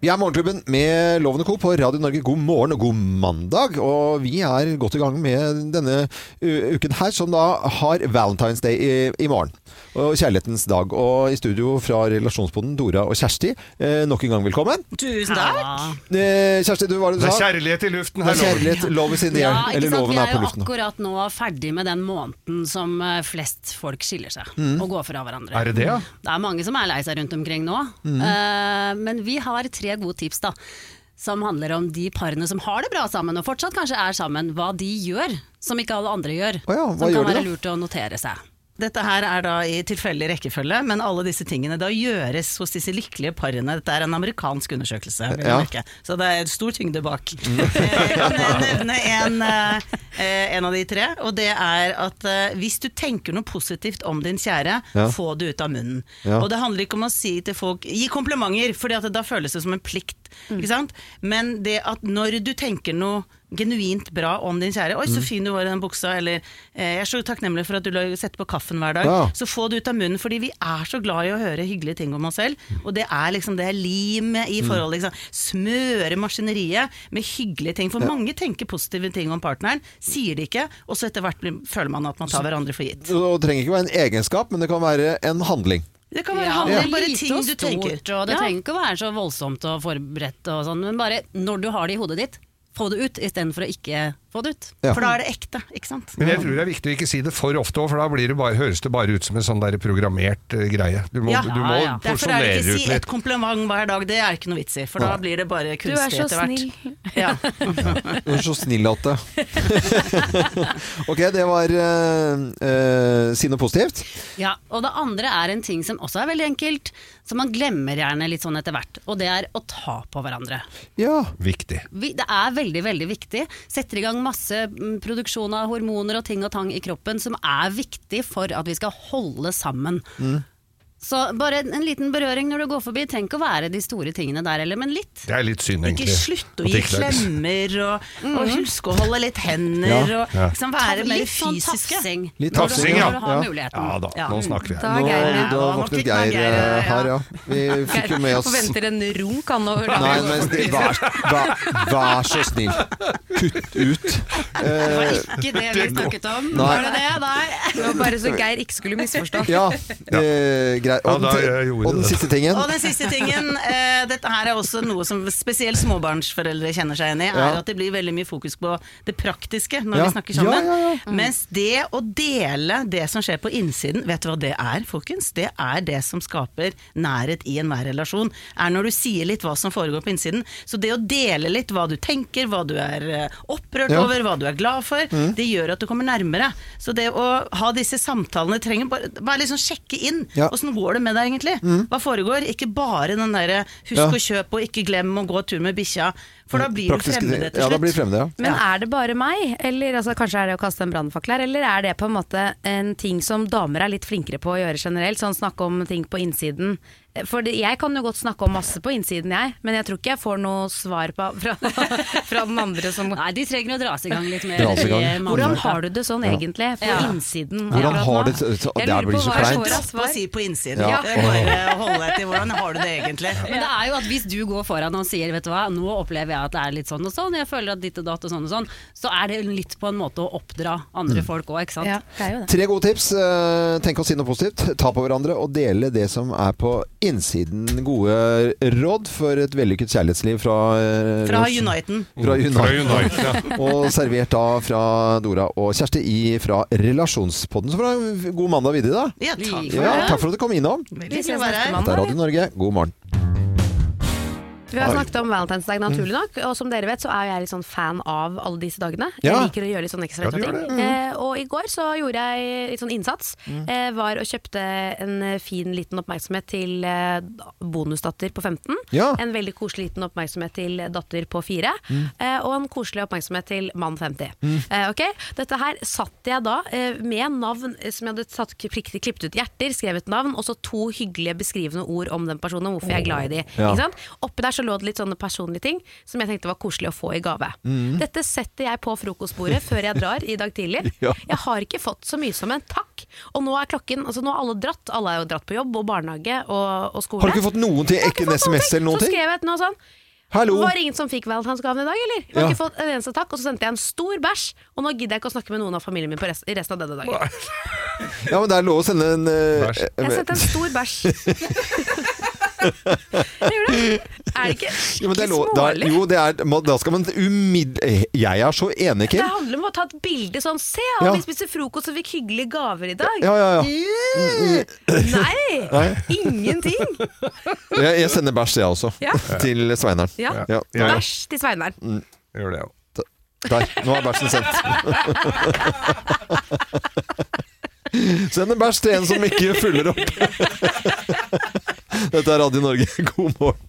Speaker 1: Vi er Morgenklubben med Lovende Co. på Radio Norge. God morgen og god mandag. Og vi er godt i gang med denne u- uken her, som da har Valentine's Day i, i morgen. Og kjærlighetens dag. Og i studio fra relasjonsbonden Dora og Kjersti, eh, nok en gang velkommen.
Speaker 9: Tusen takk.
Speaker 1: Eh, Kjersti, du, hva var det du
Speaker 3: Det er
Speaker 1: sa?
Speaker 3: kjærlighet i
Speaker 1: Det
Speaker 3: luften her
Speaker 1: er
Speaker 3: nå.
Speaker 1: kjærlighet. Love is in the
Speaker 9: Ja,
Speaker 1: air.
Speaker 9: ikke
Speaker 1: Eller
Speaker 9: sant? Vi
Speaker 1: loven er
Speaker 9: er
Speaker 1: på
Speaker 9: jo
Speaker 1: luften. nå.
Speaker 9: akkurat nå ferdig med den måneden som eh, flest folk skiller seg
Speaker 1: Mm.
Speaker 9: og går fra hverandre. Mm.
Speaker 3: Er det det, ja?
Speaker 9: Det er mange som er lei seg rundt omkring nå,
Speaker 1: Mm.
Speaker 9: Eh, men vi har tre gode tips da. Som handler om de parene som har det bra sammen og fortsatt kanskje er sammen, hva de gjør som ikke alle andre gjør.
Speaker 1: Å ja,
Speaker 9: som
Speaker 1: hva
Speaker 9: kan
Speaker 1: gjør de
Speaker 9: være
Speaker 1: da?
Speaker 9: lurt å notere seg.
Speaker 10: Dette her er da i tilfeldig rekkefølge, men alle disse tingene da gjøres hos disse lykkelige parene. Dette er en amerikansk undersøkelse, vil jeg
Speaker 1: Ja.
Speaker 10: merke. så det er stor tyngde bak. (laughs) Eh, Jeg kan nevne en, eh, en av de tre, og det er at eh, hvis du tenker noe positivt om din kjære,
Speaker 1: Ja.
Speaker 10: få det ut av munnen.
Speaker 1: Ja.
Speaker 10: Og det handler ikke om å si til folk Gi komplimenter, for da føles det som en plikt. Ikke sant? Men det at når du tenker noe genuint bra om din kjære Oi,
Speaker 1: Mm.
Speaker 10: så fin du var i den buksa, eller eh, Jeg er så takknemlig for at du la- setter på kaffen hver dag.
Speaker 1: Ja.
Speaker 10: Så få det ut av munnen, fordi vi er så glad i å høre hyggelige ting om oss selv. Og det er liksom det er limet
Speaker 3: Mm.
Speaker 10: i forholdet. Liksom. Smøre maskineriet med hyggelige ting. For mange tenker positive ting om partneren, sier det ikke, og så etter hvert blir, føler man at man tar hverandre for gitt.
Speaker 1: Det trenger ikke være en egenskap, men det kan være en handling.
Speaker 10: Det kan være
Speaker 9: Ja,
Speaker 10: handling,
Speaker 9: og
Speaker 10: bare
Speaker 9: lite
Speaker 10: ting
Speaker 9: og
Speaker 10: du
Speaker 9: stort,
Speaker 10: tenker.
Speaker 9: Og det
Speaker 10: Ja.
Speaker 9: trenger ikke å være så voldsomt og forberedt og sånn, men bare når du har det i hodet ditt, få det ut istedenfor å ikke få det ut.
Speaker 1: Ja.
Speaker 10: For da er det ekte, ikke sant?
Speaker 3: Men jeg tror det er viktig å ikke si det for ofte òg, for da blir det bare, høres det bare ut som en sånn der programmert eh, greie. Du må,
Speaker 10: Ja.
Speaker 3: du må
Speaker 9: Ja, ja.
Speaker 10: Derfor er det
Speaker 3: porsjonere
Speaker 10: ikke
Speaker 3: ut
Speaker 10: si et
Speaker 3: litt.
Speaker 10: kompliment hver dag, det er ikke noe vits i. For da blir det bare
Speaker 2: Du er
Speaker 10: kunstig
Speaker 2: så
Speaker 10: etter hvert.
Speaker 2: snill.
Speaker 10: Ja.
Speaker 3: (laughs)
Speaker 1: Du er så snill at det Ok, det var eh, eh, si noe positivt.
Speaker 9: Ja, og det andre er en ting som også er veldig enkelt, som man glemmer gjerne litt sånn etter hvert, og det er å ta på hverandre.
Speaker 1: Ja.
Speaker 3: Viktig.
Speaker 9: Vi, det er veldig, veldig viktig. Setter i gang masse mm, produksjon av hormoner og ting og tang i kroppen som er viktig for at vi skal holde sammen.
Speaker 10: Mm.
Speaker 9: Så bare en, en liten berøring når du går forbi. Tenk å være de store tingene der heller, men litt.
Speaker 3: Det er litt synd,
Speaker 10: Ikke
Speaker 3: egentlig.
Speaker 10: slutt å
Speaker 3: at
Speaker 10: gi
Speaker 3: ikke det er-
Speaker 10: klemmer, og, og husk å holde litt hender,
Speaker 1: Ja.
Speaker 10: og
Speaker 3: Ja.
Speaker 10: liksom være mer
Speaker 9: Mm. litt sånn
Speaker 10: fysiske.
Speaker 9: tafsing.
Speaker 1: Litt
Speaker 9: når du-
Speaker 3: tafsing, ja.
Speaker 9: Når du har
Speaker 1: Ja.
Speaker 9: muligheten.
Speaker 3: Ja da,
Speaker 10: Ja.
Speaker 3: nå snakker vi.
Speaker 2: Da
Speaker 1: Nå,
Speaker 2: er Geir med.
Speaker 1: da
Speaker 10: nå
Speaker 1: våknet
Speaker 10: fikk man
Speaker 1: Geir
Speaker 10: Geir,
Speaker 1: eh,
Speaker 10: ja.
Speaker 1: her, ja. Vi fikk jo med oss
Speaker 2: Forventer en runk han over
Speaker 1: Nei,
Speaker 2: dagen.
Speaker 1: men det- vær, vær, vær så snill. Kutt ut.
Speaker 9: Det
Speaker 1: Eh,
Speaker 9: var ikke det vi snakket om.
Speaker 1: Nei.
Speaker 9: Var det det? Nei.
Speaker 2: Det var bare så Geir ikke skulle misforstå.
Speaker 1: ja, eh, greit. Og,
Speaker 3: Ja, da, jeg
Speaker 1: den,
Speaker 3: gjorde
Speaker 1: og den
Speaker 3: det.
Speaker 1: siste tingen.
Speaker 10: Og den siste tingen, eh, dette her er også noe som spesielt småbarnsforeldre kjenner seg igjen i,
Speaker 1: Ja.
Speaker 10: er at det blir veldig mye fokus på det praktiske når
Speaker 1: Ja.
Speaker 10: vi snakker sammen. Mm.
Speaker 1: Ja, ja, ja.
Speaker 10: Mens det å dele det som skjer på innsiden, vet du hva det er, folkens? Det er det som skaper nærhet i enhver relasjon. Er når du sier litt hva som foregår på innsiden. Så det å dele litt hva du tenker, hva du er eh, opprørt
Speaker 1: Ja. Mm.
Speaker 10: over, hva du er glad for, det gjør at du kommer nærmere. Så det å ha disse samtalene trenger bare, bare liksom sjekke inn.
Speaker 1: Ja.
Speaker 10: Åssen går det med deg egentlig? Hva foregår? Ikke bare den derre husk
Speaker 1: Mm. Ja.
Speaker 10: å kjøpe og ikke glem å gå tur med bikkja. For da blir du
Speaker 1: Praktiske ting.
Speaker 10: fremmede til slutt.
Speaker 1: Ja, da blir du fremmede, ja.
Speaker 2: Men er det bare meg, eller altså, kanskje er det å kaste en brannfakkel her, eller er det på en måte en ting som damer er litt flinkere på å gjøre generelt, sånn snakke om ting på innsiden? For det, jeg kan jo godt snakke om masse på innsiden, jeg, men jeg tror ikke jeg får noe svar på, fra, (laughs) fra den andre som
Speaker 9: Nei, de trenger å dras i gang litt mer.
Speaker 1: Dra oss i gang.
Speaker 9: i, eh,
Speaker 2: Hvordan
Speaker 9: mannfolka.
Speaker 2: har du det sånn
Speaker 1: Ja.
Speaker 2: egentlig, på
Speaker 9: Ja.
Speaker 2: innsiden?
Speaker 1: Hvordan
Speaker 2: akkurat
Speaker 1: har
Speaker 2: nå?
Speaker 1: du det- så-
Speaker 2: Jeg
Speaker 1: det
Speaker 2: lurer
Speaker 1: blir
Speaker 2: på
Speaker 1: så
Speaker 2: hva jeg
Speaker 1: kleint.
Speaker 2: får av
Speaker 10: Slapp å
Speaker 2: svar.
Speaker 10: si på innsiden.
Speaker 1: Ja.
Speaker 10: Det er Bare hold deg til hvordan har du det egentlig.
Speaker 9: Men det er jo at hvis du går foran og sier vet du hva, nå opplever jeg at det er litt sånn og sånn, jeg føler at ditt og datt og sånn og sånn, så er det litt på en måte å oppdra
Speaker 1: Mm.
Speaker 9: andre folk òg, ikke sant.
Speaker 2: Ja, det er jo det.
Speaker 1: Tre gode tips. Eh, Tenk å si noe positivt. Ta på hverandre og dele det som er på innsiden. Gode råd for et vellykket kjærlighetsliv fra eh,
Speaker 10: Fra
Speaker 1: Lars-
Speaker 10: Uniten.
Speaker 1: Fra Unite.
Speaker 3: Fra
Speaker 10: (laughs)
Speaker 3: Unite,
Speaker 1: og servert da fra Dora og Kjersti i fra Relasjonspodden. Så får du ha en god mandag videre, da.
Speaker 10: Ja, takk for
Speaker 1: Ja,
Speaker 10: det.
Speaker 1: takk for at du kom innom.
Speaker 10: Vi ses neste
Speaker 1: Dette er
Speaker 2: mandag.
Speaker 1: Radio Norge, god morgen.
Speaker 2: Vi har snakket om valentinsdag, naturlig
Speaker 1: Mm.
Speaker 2: nok. Og som dere vet, så er jeg litt sånn fan av alle disse dagene.
Speaker 1: Ja.
Speaker 2: Jeg liker å gjøre litt sånn ekstra
Speaker 1: Ja, du
Speaker 2: ting.
Speaker 1: gjør det. Mm.
Speaker 2: Eh, og i går så gjorde jeg litt sånn innsats. Eh, var og kjøpte en eh, fin liten oppmerksomhet til eh, bonusdatter på 15.
Speaker 1: Ja. Mm.
Speaker 2: En veldig koselig liten oppmerksomhet til datter på 4. Eh, og en koselig oppmerksomhet til mann 50. Eh, ok? Dette her satt jeg da eh, med navn eh, som jeg hadde satt, klippet, klippet ut hjerter, skrevet navn, og så to hyggelige beskrivende ord om den personen, og hvorfor jeg er glad i de.
Speaker 1: Ja.
Speaker 2: Ikke sant? Oppi der så lå det litt sånne personlige ting som jeg tenkte var koselig å få i gave.
Speaker 1: Mm.
Speaker 2: Dette setter jeg på frokostbordet før jeg drar i dag tidlig.
Speaker 1: (laughs) Ja.
Speaker 2: Jeg har ikke fått så mye som en takk. Og nå er klokken, altså nå har alle dratt. Alle er jo dratt på jobb og barnehage og, og skole.
Speaker 1: Har du ikke fått noen ting?
Speaker 2: Jeg har
Speaker 1: Ikke
Speaker 2: fått
Speaker 1: en SMS eller noen
Speaker 2: Så
Speaker 1: ting?
Speaker 2: skrev jeg et noe sånn.
Speaker 1: Hallo!
Speaker 2: Var det ingen som fikk valentinsgaven i dag, eller? Jeg har
Speaker 1: Ja.
Speaker 2: ikke fått en eneste takk, og så sendte jeg en stor bæsj. Og nå gidder jeg ikke å snakke med noen av familien min på rest, i resten av denne dagen.
Speaker 1: Ja, men det er lov å sende en eh,
Speaker 3: Bæsj.
Speaker 1: eh,
Speaker 2: Jeg sendte en
Speaker 1: (laughs)
Speaker 2: stor bæsj. (laughs) Jeg gjorde det. Er det ikke
Speaker 1: ja, men det
Speaker 2: skikkelig
Speaker 1: er lov, da,
Speaker 2: smålig?
Speaker 1: jo, det er, må- da skal man umiddel... Jeg er så enig,
Speaker 2: Det
Speaker 1: Kim.
Speaker 2: handler om å ta et bilde sånn Se,
Speaker 1: Ja.
Speaker 2: alle de spiste frokost og fikk hyggelige gaver i dag.
Speaker 1: Ja, ja, Mm, ja.
Speaker 2: Nei,
Speaker 1: (laughs)
Speaker 2: ingenting.
Speaker 1: Jeg, jeg sender bæsj, jeg også.
Speaker 2: Ja.
Speaker 1: Til Sveineren.
Speaker 2: Ja.
Speaker 1: Ja. Mm.
Speaker 3: Ja, ja.
Speaker 2: Bæsj til Sveineren.
Speaker 3: Jeg Gjør det, ja.
Speaker 1: Der, nå er bæsjen sendt. Send en bæsj til en som ikke følger
Speaker 2: (laughs)
Speaker 1: opp. Dette er Radio Norge, god morgen.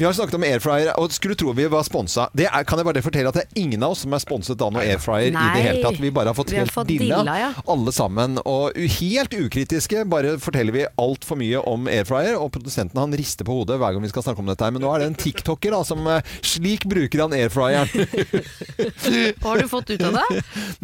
Speaker 1: Vi har snakket om airfryer, og skulle tro vi var sponsa. Det er, kan jeg bare fortelle at det er ingen av oss som er sponset av noe airfryer i det
Speaker 2: Nei.
Speaker 1: hele tatt. Vi bare har fått
Speaker 2: Vi har
Speaker 1: helt
Speaker 2: fått
Speaker 1: dilla,
Speaker 2: dilla, ja.
Speaker 1: alle sammen. Og u- helt ukritiske bare forteller vi altfor mye om airfryer, og produsenten han rister på hodet hver gang vi skal snakke om dette her. Men nå er det en tiktoker da, som eh, slik bruker han airfryeren.
Speaker 2: Hva har du fått ut av
Speaker 1: (laughs)
Speaker 2: det?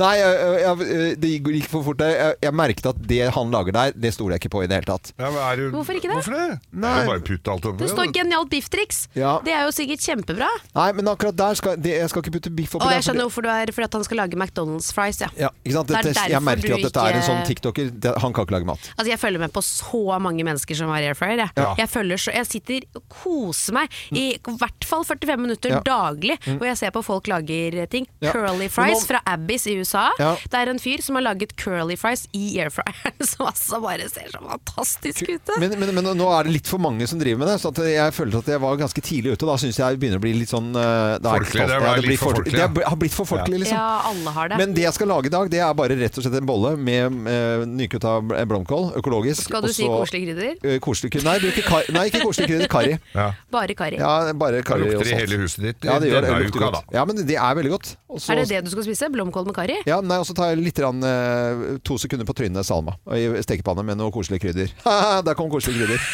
Speaker 1: Nei, jeg, jeg, eh, det gikk for fort. der. Jeg, jeg merket at det han lager der, det stoler jeg ikke på i det hele tatt.
Speaker 3: Ja, men er du,
Speaker 2: Hvorfor ikke det?
Speaker 3: Hvorfor det?
Speaker 1: Nei.
Speaker 3: Det er jo bare å putte alt over.
Speaker 2: Det står 'genialt bifftriks'.
Speaker 1: Ja.
Speaker 2: Det er jo sikkert kjempebra.
Speaker 1: Nei, men akkurat der skal det, Jeg skal ikke putte biff oppi
Speaker 2: Og
Speaker 1: der.
Speaker 2: jeg skjønner hvorfor du er fordi at han skal lage McDonald's fries, ja.
Speaker 1: ja, ikke sant?
Speaker 2: Det er
Speaker 1: Dette,
Speaker 2: derfor
Speaker 1: jeg merker
Speaker 2: du
Speaker 1: at dette er en
Speaker 2: ikke-
Speaker 1: sånn tiktoker. Det, han kan ikke lage mat.
Speaker 2: Altså Jeg følger med på så mange mennesker som har airfryer. Jeg,
Speaker 1: Ja. Mm.
Speaker 2: jeg, følger så, jeg sitter og koser meg i hvert fall 45 minutter
Speaker 1: Ja. Mm.
Speaker 2: daglig hvor jeg ser på folk lager eh, ting.
Speaker 1: Ja.
Speaker 2: Curly
Speaker 1: Men
Speaker 2: fries
Speaker 1: nå-
Speaker 2: fra Abbeys i USA.
Speaker 1: Ja.
Speaker 2: Det er en fyr som har laget curly fries i airfryeren, (laughs) som altså bare ser så fantastisk ut. da.
Speaker 1: Men, men, men nå er det litt for mange som driver med det, så at jeg følte at jeg var ganske tidlig ute. og Da syns jeg begynner å bli litt sånn eh, da er
Speaker 3: Folkelig,
Speaker 1: ikke
Speaker 3: det
Speaker 1: stolt.
Speaker 3: var
Speaker 1: Ja,
Speaker 3: litt
Speaker 1: blir
Speaker 3: for
Speaker 1: for- Det
Speaker 3: folkelig, ja.
Speaker 1: er- har blitt for folkelig, liksom.
Speaker 2: Ja, alle har det.
Speaker 1: Men det jeg skal lage i dag, det er bare rett og slett en bolle med eh, nykutta blomkål, økologisk.
Speaker 2: skal du
Speaker 1: og
Speaker 2: si
Speaker 1: så-
Speaker 2: koselige krydder?
Speaker 1: Eh, Koselig krydder. Nei, bruker kar- nei, ikke koselig krydder. Karri.
Speaker 3: Ja.
Speaker 2: Bare karri.
Speaker 1: Ja, bare
Speaker 3: Da
Speaker 1: karri og
Speaker 3: lukter det i
Speaker 1: salt.
Speaker 3: hele huset ditt
Speaker 1: Ja, det gjør det.
Speaker 3: denne
Speaker 1: det lukter
Speaker 3: uka,
Speaker 1: godt.
Speaker 3: da.
Speaker 1: Ja, men det er veldig godt. Og så-
Speaker 2: Er det det du skal spise? Blomkål med karri?
Speaker 1: Ja, nei, og så tar jeg litt rann, eh, to sekunder på trynet salma og i stekepanne med noe koselig krydder. (laughs) Haha, Der kom koselig krydder.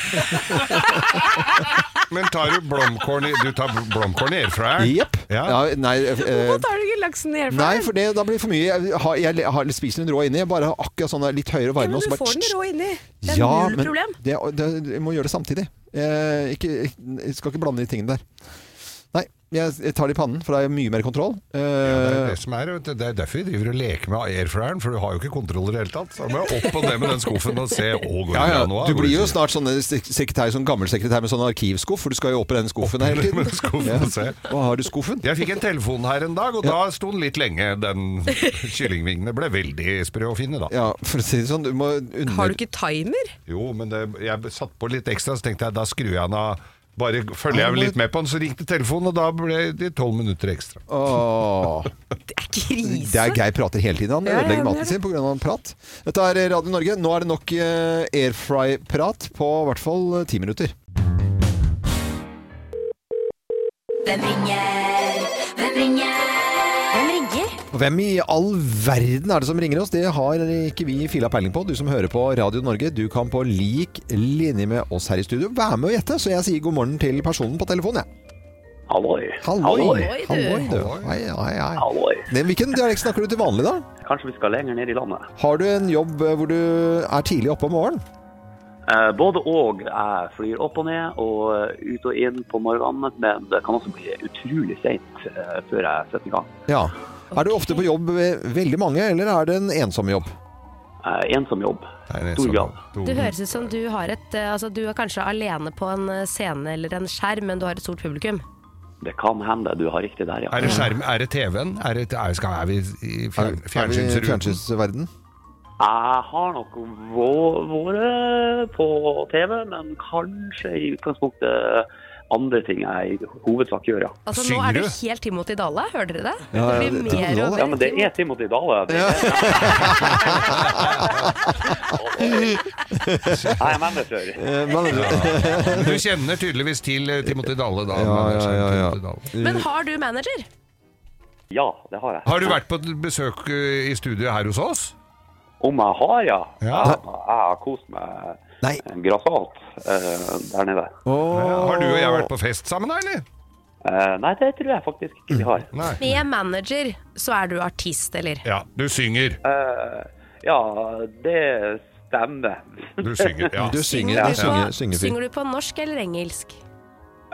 Speaker 3: Men tar du blomkål i, du tar blomkål i airfryeren?
Speaker 1: Jepp.
Speaker 3: Ja.
Speaker 1: Ja, nei, eh,
Speaker 2: Hvorfor tar du ikke laksen i
Speaker 1: nei,
Speaker 2: airfryeren?
Speaker 1: for det, da blir det for mye. Jeg, har, jeg har, spiser den rå inni. Jeg bare har akkurat sånn litt høyere varme.
Speaker 2: Men
Speaker 1: og så
Speaker 2: du
Speaker 1: bare-
Speaker 2: får den rå inni. Det er
Speaker 1: Ja,
Speaker 2: null
Speaker 1: men
Speaker 2: problem.
Speaker 1: Det, det, jeg må gjøre det samtidig. Jeg, ikke, jeg skal ikke blande de tingene der. Nei, jeg, jeg tar det i pannen, for da har jeg mye mer kontroll.
Speaker 3: Det er
Speaker 1: Eh,
Speaker 3: det som er, vet du. Det er derfor vi driver og leker med airfryeren, for du har jo ikke kontroll i det hele tatt. Så må jeg opp på det med den skuffen og se Å, går det
Speaker 1: Ja, ja.
Speaker 3: bra nå?
Speaker 1: Du blir jo snart sånne sek- sekretær, sånn gammel sekretær med sånn arkivskuff, for du skal jo opp i den skuffen hele tiden.
Speaker 3: med skuffen og se.
Speaker 1: Hva har du i skuffen?
Speaker 3: Jeg fikk en telefon her en dag, og da sto den litt lenge.
Speaker 1: (laughs)
Speaker 3: Den kyllingvingene ble veldig sprø å finne, da.
Speaker 1: Ja, for å si det sånn, du må under...
Speaker 2: Har du ikke timer?
Speaker 3: Jo, men det, jeg satt på litt ekstra, så tenkte jeg da skrur jeg den av. Bare følger jeg litt med på den, så ringte telefonen, og da ble det tolv minutter ekstra.
Speaker 1: Åh,
Speaker 2: Det er krise.
Speaker 1: det er Geir prater hele tiden. Han
Speaker 2: Ja, ja,
Speaker 1: ødelegger
Speaker 2: han
Speaker 1: maten
Speaker 2: gjør
Speaker 1: sin pga. prat. Dette er Radio Norge. Nå er det nok eh, airfry-prat på i hvert fall ti minutter.
Speaker 11: Hvem ringer? Hvem ringer? Hvem ringer?
Speaker 1: Og Hvem i all verden er det som ringer oss? Det har ikke vi fila peiling på. Du som hører på Radio Norge, du kan på lik linje med oss her i studio være med og gjette. Så jeg sier god morgen til personen på telefonen, jeg.
Speaker 12: Halloi.
Speaker 1: Halloi.
Speaker 12: Halloi, du.
Speaker 1: Halloi, du. Hei, hei, hei. Men Hvilken dialekt snakker du til vanlig, da?
Speaker 12: Kanskje vi skal lenger ned i landet.
Speaker 1: Har du en jobb eh, hvor du er tidlig oppe om morgenen?
Speaker 12: Eh, både og. Jeg flyr opp og ned og eh, ut og inn på morgenen, men det kan også bli utrolig seint eh, før jeg setter i gang.
Speaker 1: Ja. Er du ofte på jobb ved veldig mange, eller er det en ensom jobb?
Speaker 12: Eh, ensom jobb.
Speaker 3: sånn.
Speaker 12: Stor grad.
Speaker 2: Du høres ut som du har et eh, Altså, du er kanskje alene på en eh, scene eller en skjerm, men du har et stort publikum.
Speaker 12: Det kan hende du har riktig der, ja.
Speaker 3: Er det skjerm? Er det TV-en? Er, det, er, skal, er vi i fjern,
Speaker 1: Er vi i
Speaker 3: fjernsynsruten?
Speaker 1: fjernsynsverden?
Speaker 12: Jeg har nok vå- vært eh, på TV, men kanskje i utgangspunktet andre ting Eh, jeg i hovedsak gjør, ja.
Speaker 2: Altså, nå er du helt Timothy Dale, hører dere det?
Speaker 12: Ja,
Speaker 2: det blir mer og
Speaker 12: men det er Timothy Dale. Det er (laughs) det. Nei, jeg er manager.
Speaker 3: Ja. Du kjenner tydeligvis til eh, Timothy Dale da.
Speaker 1: Ja, ja, ja, ja.
Speaker 3: Timothy Dale.
Speaker 2: Men har du manager?
Speaker 12: Ja, det har jeg.
Speaker 3: Har du vært på et besøk eh, i studiet her hos oss?
Speaker 12: Om jeg har, ja.
Speaker 3: Ja.
Speaker 12: Jeg, jeg har kost meg grassat eh, der nede.
Speaker 3: Har du og jeg vært på fest sammen, da, eller?
Speaker 12: Eh, nei, det tror jeg faktisk ikke vi har.
Speaker 2: Med manager så er du artist, eller?
Speaker 3: Ja, du synger.
Speaker 12: ja, det stemmer.
Speaker 3: Du synger,
Speaker 12: (laughs)
Speaker 3: ja. Du synger,
Speaker 2: du
Speaker 3: Ja.
Speaker 2: på,
Speaker 3: synger- synger fint.
Speaker 2: synger du på norsk eller engelsk?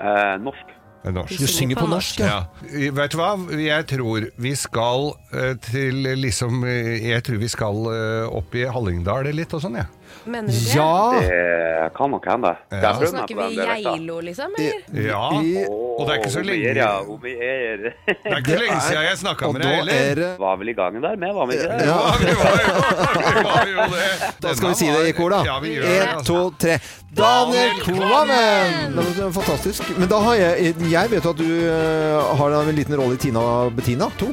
Speaker 12: Eh, norsk.
Speaker 3: norsk.
Speaker 2: Du synger på norsk,
Speaker 3: ja. Eh, I- Vet du hva? Jeg tror vi skal eh, til eh, liksom eh, Jeg tror vi skal eh, opp i Hallingdal litt og sånn, jeg.
Speaker 2: Mener du det?
Speaker 12: Det kan nok hende. Jeg prøver meg
Speaker 2: Snakker
Speaker 12: på den
Speaker 2: vi
Speaker 12: dialekten.
Speaker 2: geilo, liksom? Eller?
Speaker 3: Ja, og det er ikke så
Speaker 12: Hvor
Speaker 3: lenge
Speaker 12: mye er jeg? Hvor mye er (laughs) jeg? Det
Speaker 3: er ikke så lenge siden jeg snakket med deg heller.
Speaker 12: Var vel i gangen der med, var vi ikke det?
Speaker 3: (laughs)
Speaker 1: Da skal vi si det i kor, da.
Speaker 12: Ja, vi gjør det,
Speaker 1: Én,
Speaker 12: altså.
Speaker 1: to, tre. Daniel Kvammen! Det var Fantastisk. Men da har jeg Jeg vet jo at du eh, har en liten rolle i Tina og Bettina 2.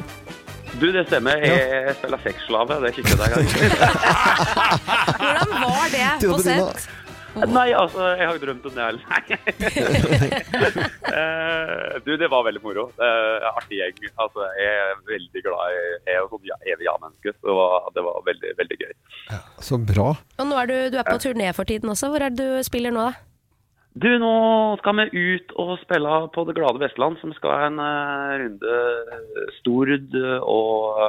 Speaker 12: Du, det stemmer. Jeg spiller sexslave. Det er ikke det engang.
Speaker 2: Hvordan var det
Speaker 12: Til å
Speaker 2: på
Speaker 12: begynne.
Speaker 2: sett?
Speaker 12: Nei, altså, jeg har jo drømt om det hele. Nei. Eh, du, det var veldig moro. Eh, artig gjeng. Altså, jeg er veldig glad i Jeg er jo sånn ja- evig ja-menneske, så det var, det var veldig, veldig gøy.
Speaker 1: Så bra.
Speaker 2: Og nå er du, du er på turné for tiden også. Hvor er det du spiller nå, da?
Speaker 12: Du, nå skal vi ut og spille på Det glade Vestland, som skal ha en eh, runde eh, Stord og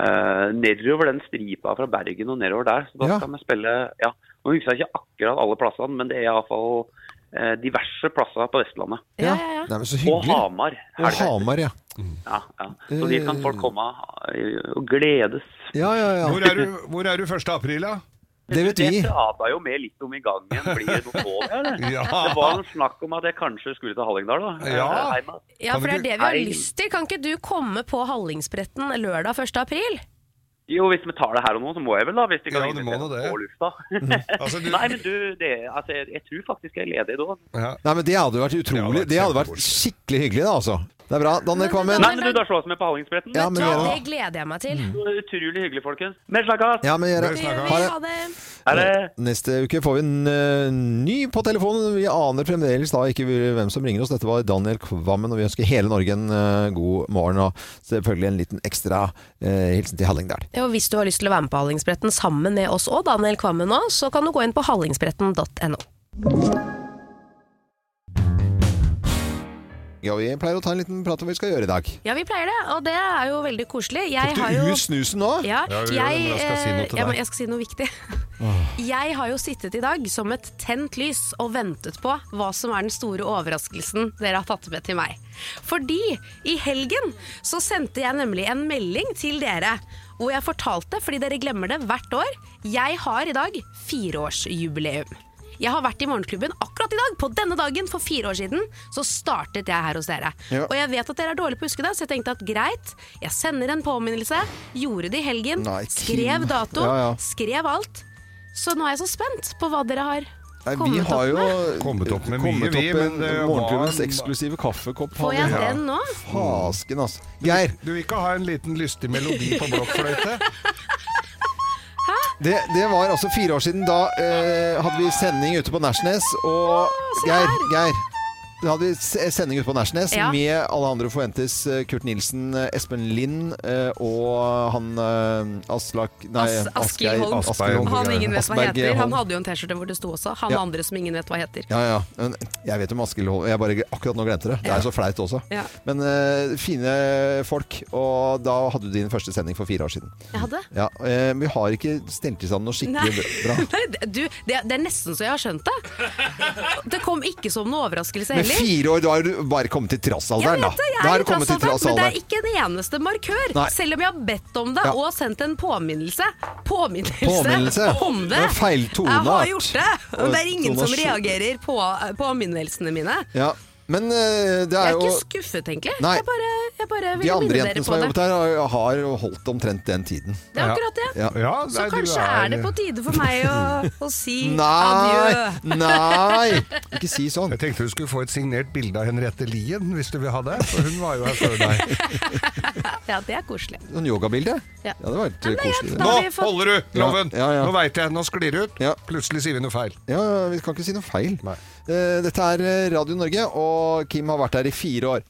Speaker 12: eh, nedover den stripa fra Bergen og nedover der. Så da skal vi spille ja, Nå husker jeg ikke akkurat alle plassene, men det er iallfall uh, diverse plasser på Vestlandet.
Speaker 1: Ja, ja, ja. Nei, men så
Speaker 12: og
Speaker 1: hyggelig.
Speaker 12: Hamar.
Speaker 1: Og Hamar, ja.
Speaker 12: Ja, ja. Så dit kan folk komme eh, og gledes.
Speaker 1: Ja, ja, ja.
Speaker 3: Hvor er du, hvor er du 1. april, da?
Speaker 1: Det vet vi.
Speaker 12: Det prata jo med litt om i gangen. Blir det noe på det, eller?
Speaker 3: (laughs) Ja.
Speaker 12: Det var en snakk om at jeg kanskje skulle til Hallingdal, da.
Speaker 3: Ja.
Speaker 12: Eh, Heima.
Speaker 2: Ja, for det er det vi har
Speaker 12: Nei.
Speaker 2: lyst til. Kan ikke du komme på Hallingsbretten lørdag 1. april?
Speaker 12: Jo, hvis vi tar det her og nå, så må jeg vel da, hvis de kan
Speaker 3: Ja, du må nå
Speaker 12: invitere
Speaker 3: det.
Speaker 12: på lufta. (laughs) Nei, men du, det, altså, jeg, jeg tror faktisk jeg er ledig da.
Speaker 1: Nei, men det hadde vært utrolig. Det hadde vært skikkelig hyggelig, da, altså. Det er bra. Daniel Kvammen.
Speaker 12: Nei, men du, da slås vi på Hallingsbretten.
Speaker 1: Ja, men
Speaker 2: Ja,
Speaker 1: gjør
Speaker 2: det gleder jeg meg til.
Speaker 12: Utrolig hyggelig, folkens. Mer snakkes!
Speaker 1: Ja, men gjør
Speaker 12: Mer
Speaker 1: det.
Speaker 12: snakkes.
Speaker 1: Ha det.
Speaker 2: Ha det.
Speaker 12: Ha det.
Speaker 1: Neste uke får vi en eh, ny på telefonen. Vi aner fremdeles da ikke hvem som ringer oss. Dette var Daniel Kvammen, og vi ønsker hele Norge en eh, god morgen. Og selvfølgelig en liten ekstra eh, hilsen til Hallingdal.
Speaker 2: Ja, Og hvis du har lyst til å være med på Hallingsbretten sammen med oss og Daniel Kvammen nå, så kan du gå inn på hallingsbretten.no.
Speaker 1: Ja, vi pleier å ta en liten prat om hva vi skal gjøre i dag.
Speaker 2: Ja, vi pleier det, og det er jo veldig koselig. Jeg
Speaker 1: Tok
Speaker 2: har
Speaker 1: du
Speaker 2: jo
Speaker 1: ut snusen nå?
Speaker 2: Ja,
Speaker 1: Ja, vi gjør det,
Speaker 2: jeg,
Speaker 1: men jeg skal si noe til
Speaker 2: eh, ja,
Speaker 1: deg.
Speaker 2: men jeg skal si noe viktig. Jeg har jo sittet i dag som et tent lys og ventet på hva som er den store overraskelsen dere har tatt med til meg. Fordi i helgen så sendte jeg nemlig en melding til dere hvor jeg fortalte, fordi dere glemmer det hvert år, jeg har i dag fireårsjubileum. Jeg har vært i morgenklubben akkurat i dag, på denne dagen for fire år siden. Så startet jeg her hos dere.
Speaker 13: Ja.
Speaker 2: Og jeg vet at dere er dårlige på å huske det, så jeg tenkte at greit, jeg sender en påminnelse. Gjorde det i helgen.
Speaker 1: Nei, Kim.
Speaker 2: skrev dato.
Speaker 1: Ja, ja.
Speaker 2: Skrev alt. Så nå er jeg så spent på hva dere har
Speaker 1: Nei,
Speaker 2: kommet
Speaker 1: vi har
Speaker 2: opp
Speaker 1: jo
Speaker 2: med.
Speaker 1: kommet
Speaker 3: opp med mye, vi,
Speaker 1: opp
Speaker 3: men det
Speaker 1: en
Speaker 3: var-
Speaker 1: morgenklubbens eksklusive kaffekopp.
Speaker 2: Får jeg den nå?
Speaker 1: Fasken, altså. Geir.
Speaker 3: Du vil ikke ha en liten lystig melodi på blokkfløyte?
Speaker 1: Det, det var altså fire år siden. Da eh, hadde vi sending ute på Nashnes, og Geir, Geir Da hadde vi s- sending ute på Nærsnes
Speaker 2: Ja.
Speaker 1: med Alejandro Fuentes, eh, Kurt Nilsen, eh, Espen Lind eh, og han eh, Aslak Nei,
Speaker 2: As Askild Holm.
Speaker 1: Askild Holm.
Speaker 2: Han ingen vet hva
Speaker 1: Asberg
Speaker 2: heter. Han
Speaker 1: Holm.
Speaker 2: hadde jo en T-skjorte hvor det sto også 'han
Speaker 1: Ja.
Speaker 2: andre som ingen vet hva heter'.
Speaker 1: Ja, ja. Men jeg vet om Askild Holm. Jeg bare akkurat nå glemte det. Det er så flaut også.
Speaker 2: Ja.
Speaker 1: Men eh, fine folk. Og da hadde du din første sending for fire år siden.
Speaker 2: Jeg hadde.
Speaker 1: Ja, eh, men vi har ikke stelt i stand noe skikkelig bra.
Speaker 2: (laughs) Nei, du, det, det er nesten så jeg har skjønt det. Det kom ikke som noen overraskelse
Speaker 1: Med
Speaker 2: heller.
Speaker 1: fire år, da har du bare kommet til
Speaker 2: Jeg
Speaker 1: trassalderen, da.
Speaker 2: vet det, jeg
Speaker 1: Da
Speaker 2: er
Speaker 1: har
Speaker 2: i
Speaker 1: du kommet til
Speaker 2: trassalderen, men det er
Speaker 1: trassalderen.
Speaker 2: ikke en eneste markør.
Speaker 1: Nei.
Speaker 2: Selv om jeg har bedt om det
Speaker 1: Ja.
Speaker 2: og sendt en påminnelse. Påminnelse,
Speaker 1: Påminnelse.
Speaker 2: om det!
Speaker 1: Det er feil Eh,
Speaker 2: jeg har
Speaker 1: toneart.
Speaker 2: gjort det!
Speaker 1: Og
Speaker 2: Men det er ingen som
Speaker 1: tonasjon.
Speaker 2: reagerer på eh, påminnelsene mine.
Speaker 1: Ja, men eh, det
Speaker 2: Jeg
Speaker 1: er
Speaker 2: er
Speaker 1: jo
Speaker 2: ikke skuffet, egentlig.
Speaker 1: Nei.
Speaker 2: Jeg bare, jeg bare
Speaker 1: De
Speaker 2: ville
Speaker 1: andre
Speaker 2: minne
Speaker 1: jentene
Speaker 2: dere
Speaker 1: som
Speaker 2: på
Speaker 1: har
Speaker 2: det.
Speaker 1: jobbet her, har- har holdt omtrent den tiden.
Speaker 2: Det er akkurat det.
Speaker 1: Ja.
Speaker 2: Så kanskje er... det på tide for meg å, å si adjø.
Speaker 3: Nei!
Speaker 2: (laughs)
Speaker 1: Nei! Ikke si sånn.
Speaker 3: Jeg tenkte du skulle få et signert bilde av Henriette Lien, hvis du vil ha det. For hun var jo her før deg.
Speaker 2: Ja, det er koselig.
Speaker 1: Sånn yogabilde?
Speaker 2: Ja.
Speaker 1: Ja, det hadde vært
Speaker 2: Ja, men jeg-
Speaker 1: koselig.
Speaker 2: da har vi fått-
Speaker 3: du, Loven!
Speaker 1: Ja, ja, ja.
Speaker 3: Nå veit jeg, nå sklir det ut. Plutselig sier vi noe feil.
Speaker 1: Ja, vi kan ikke si noe feil. Eh, Dette er Radio Norge, og Kim har vært her i fire år.